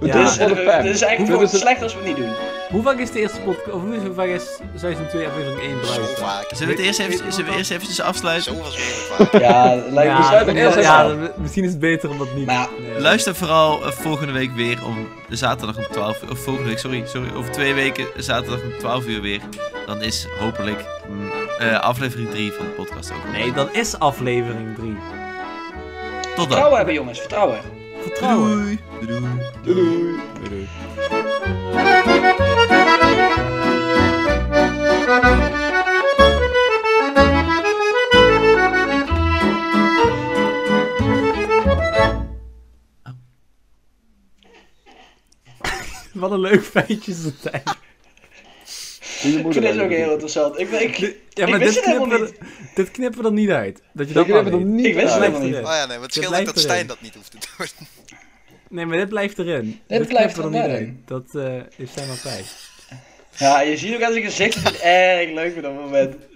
[SPEAKER 4] We
[SPEAKER 6] Ja.
[SPEAKER 4] doen
[SPEAKER 5] dus,
[SPEAKER 4] het voor de
[SPEAKER 5] eh,
[SPEAKER 4] fans.
[SPEAKER 5] het is
[SPEAKER 4] Dit
[SPEAKER 5] eigenlijk gewoon
[SPEAKER 4] het-
[SPEAKER 5] slecht als we het niet doen.
[SPEAKER 6] Hoe vaak is de eerste podcast? Of hoe vaak is seizoen 2 aflevering 1
[SPEAKER 3] Zo
[SPEAKER 6] beluisterd?
[SPEAKER 3] vaak.
[SPEAKER 2] Zullen we het eerst even, zullen we eerst eventjes afsluiten?
[SPEAKER 3] Zo verschrikkelijk vaak. Oh
[SPEAKER 5] Ja, lijkt me
[SPEAKER 6] Ja,
[SPEAKER 4] sluiten het
[SPEAKER 5] zo.
[SPEAKER 6] ja,
[SPEAKER 4] eerst even
[SPEAKER 6] ja,
[SPEAKER 4] af.
[SPEAKER 6] dan- misschien is het beter om dat niet.
[SPEAKER 5] Maar ja,
[SPEAKER 6] Nee.
[SPEAKER 2] Luister vooral eh, volgende week weer om zaterdag om 12 uur. Of volgende week, sorry, sorry. Over twee weken zaterdag om 12 uur weer. Dan is hopelijk mm, eh, aflevering 3 van de podcast ook.
[SPEAKER 6] Nee, dat is aflevering 3.
[SPEAKER 2] Tot dan.
[SPEAKER 5] Vertrouwen hebben jongens, vertrouwen.
[SPEAKER 6] Vertrouwen.
[SPEAKER 2] Doei. Doei.
[SPEAKER 4] Doei, doei.
[SPEAKER 6] Wat een leuk feitje is het eigenlijk.
[SPEAKER 4] Goeie
[SPEAKER 5] Ik
[SPEAKER 4] moeder.
[SPEAKER 5] vind dit ook
[SPEAKER 4] eigenlijk.
[SPEAKER 5] heel interessant. Ik, ik,
[SPEAKER 6] Ja,
[SPEAKER 5] Ik
[SPEAKER 6] maar
[SPEAKER 5] wist
[SPEAKER 6] dit,
[SPEAKER 5] het helemaal
[SPEAKER 6] knippen we, dit knippen we er niet uit. Dat je dat
[SPEAKER 4] Ik heb
[SPEAKER 6] maar
[SPEAKER 4] het
[SPEAKER 6] weet.
[SPEAKER 4] niet.
[SPEAKER 5] ik wist het
[SPEAKER 4] gedaan.
[SPEAKER 5] helemaal
[SPEAKER 6] blijft
[SPEAKER 5] niet.
[SPEAKER 3] Oh
[SPEAKER 6] erin.
[SPEAKER 3] ja, nee, maar het
[SPEAKER 6] Dit
[SPEAKER 3] scheelt ook
[SPEAKER 6] blijft
[SPEAKER 3] dat Stijn
[SPEAKER 6] erin.
[SPEAKER 3] dat niet hoeft te doen.
[SPEAKER 6] Nee, maar dit blijft erin. Dit,
[SPEAKER 5] blijft
[SPEAKER 6] knippen we
[SPEAKER 5] er
[SPEAKER 6] er niet
[SPEAKER 5] wel in.
[SPEAKER 6] uit. Dat eh, is zijn altijd.
[SPEAKER 5] Ja, je ziet ook aan zijn gezicht dat hij het erg leuk vindt op dat moment.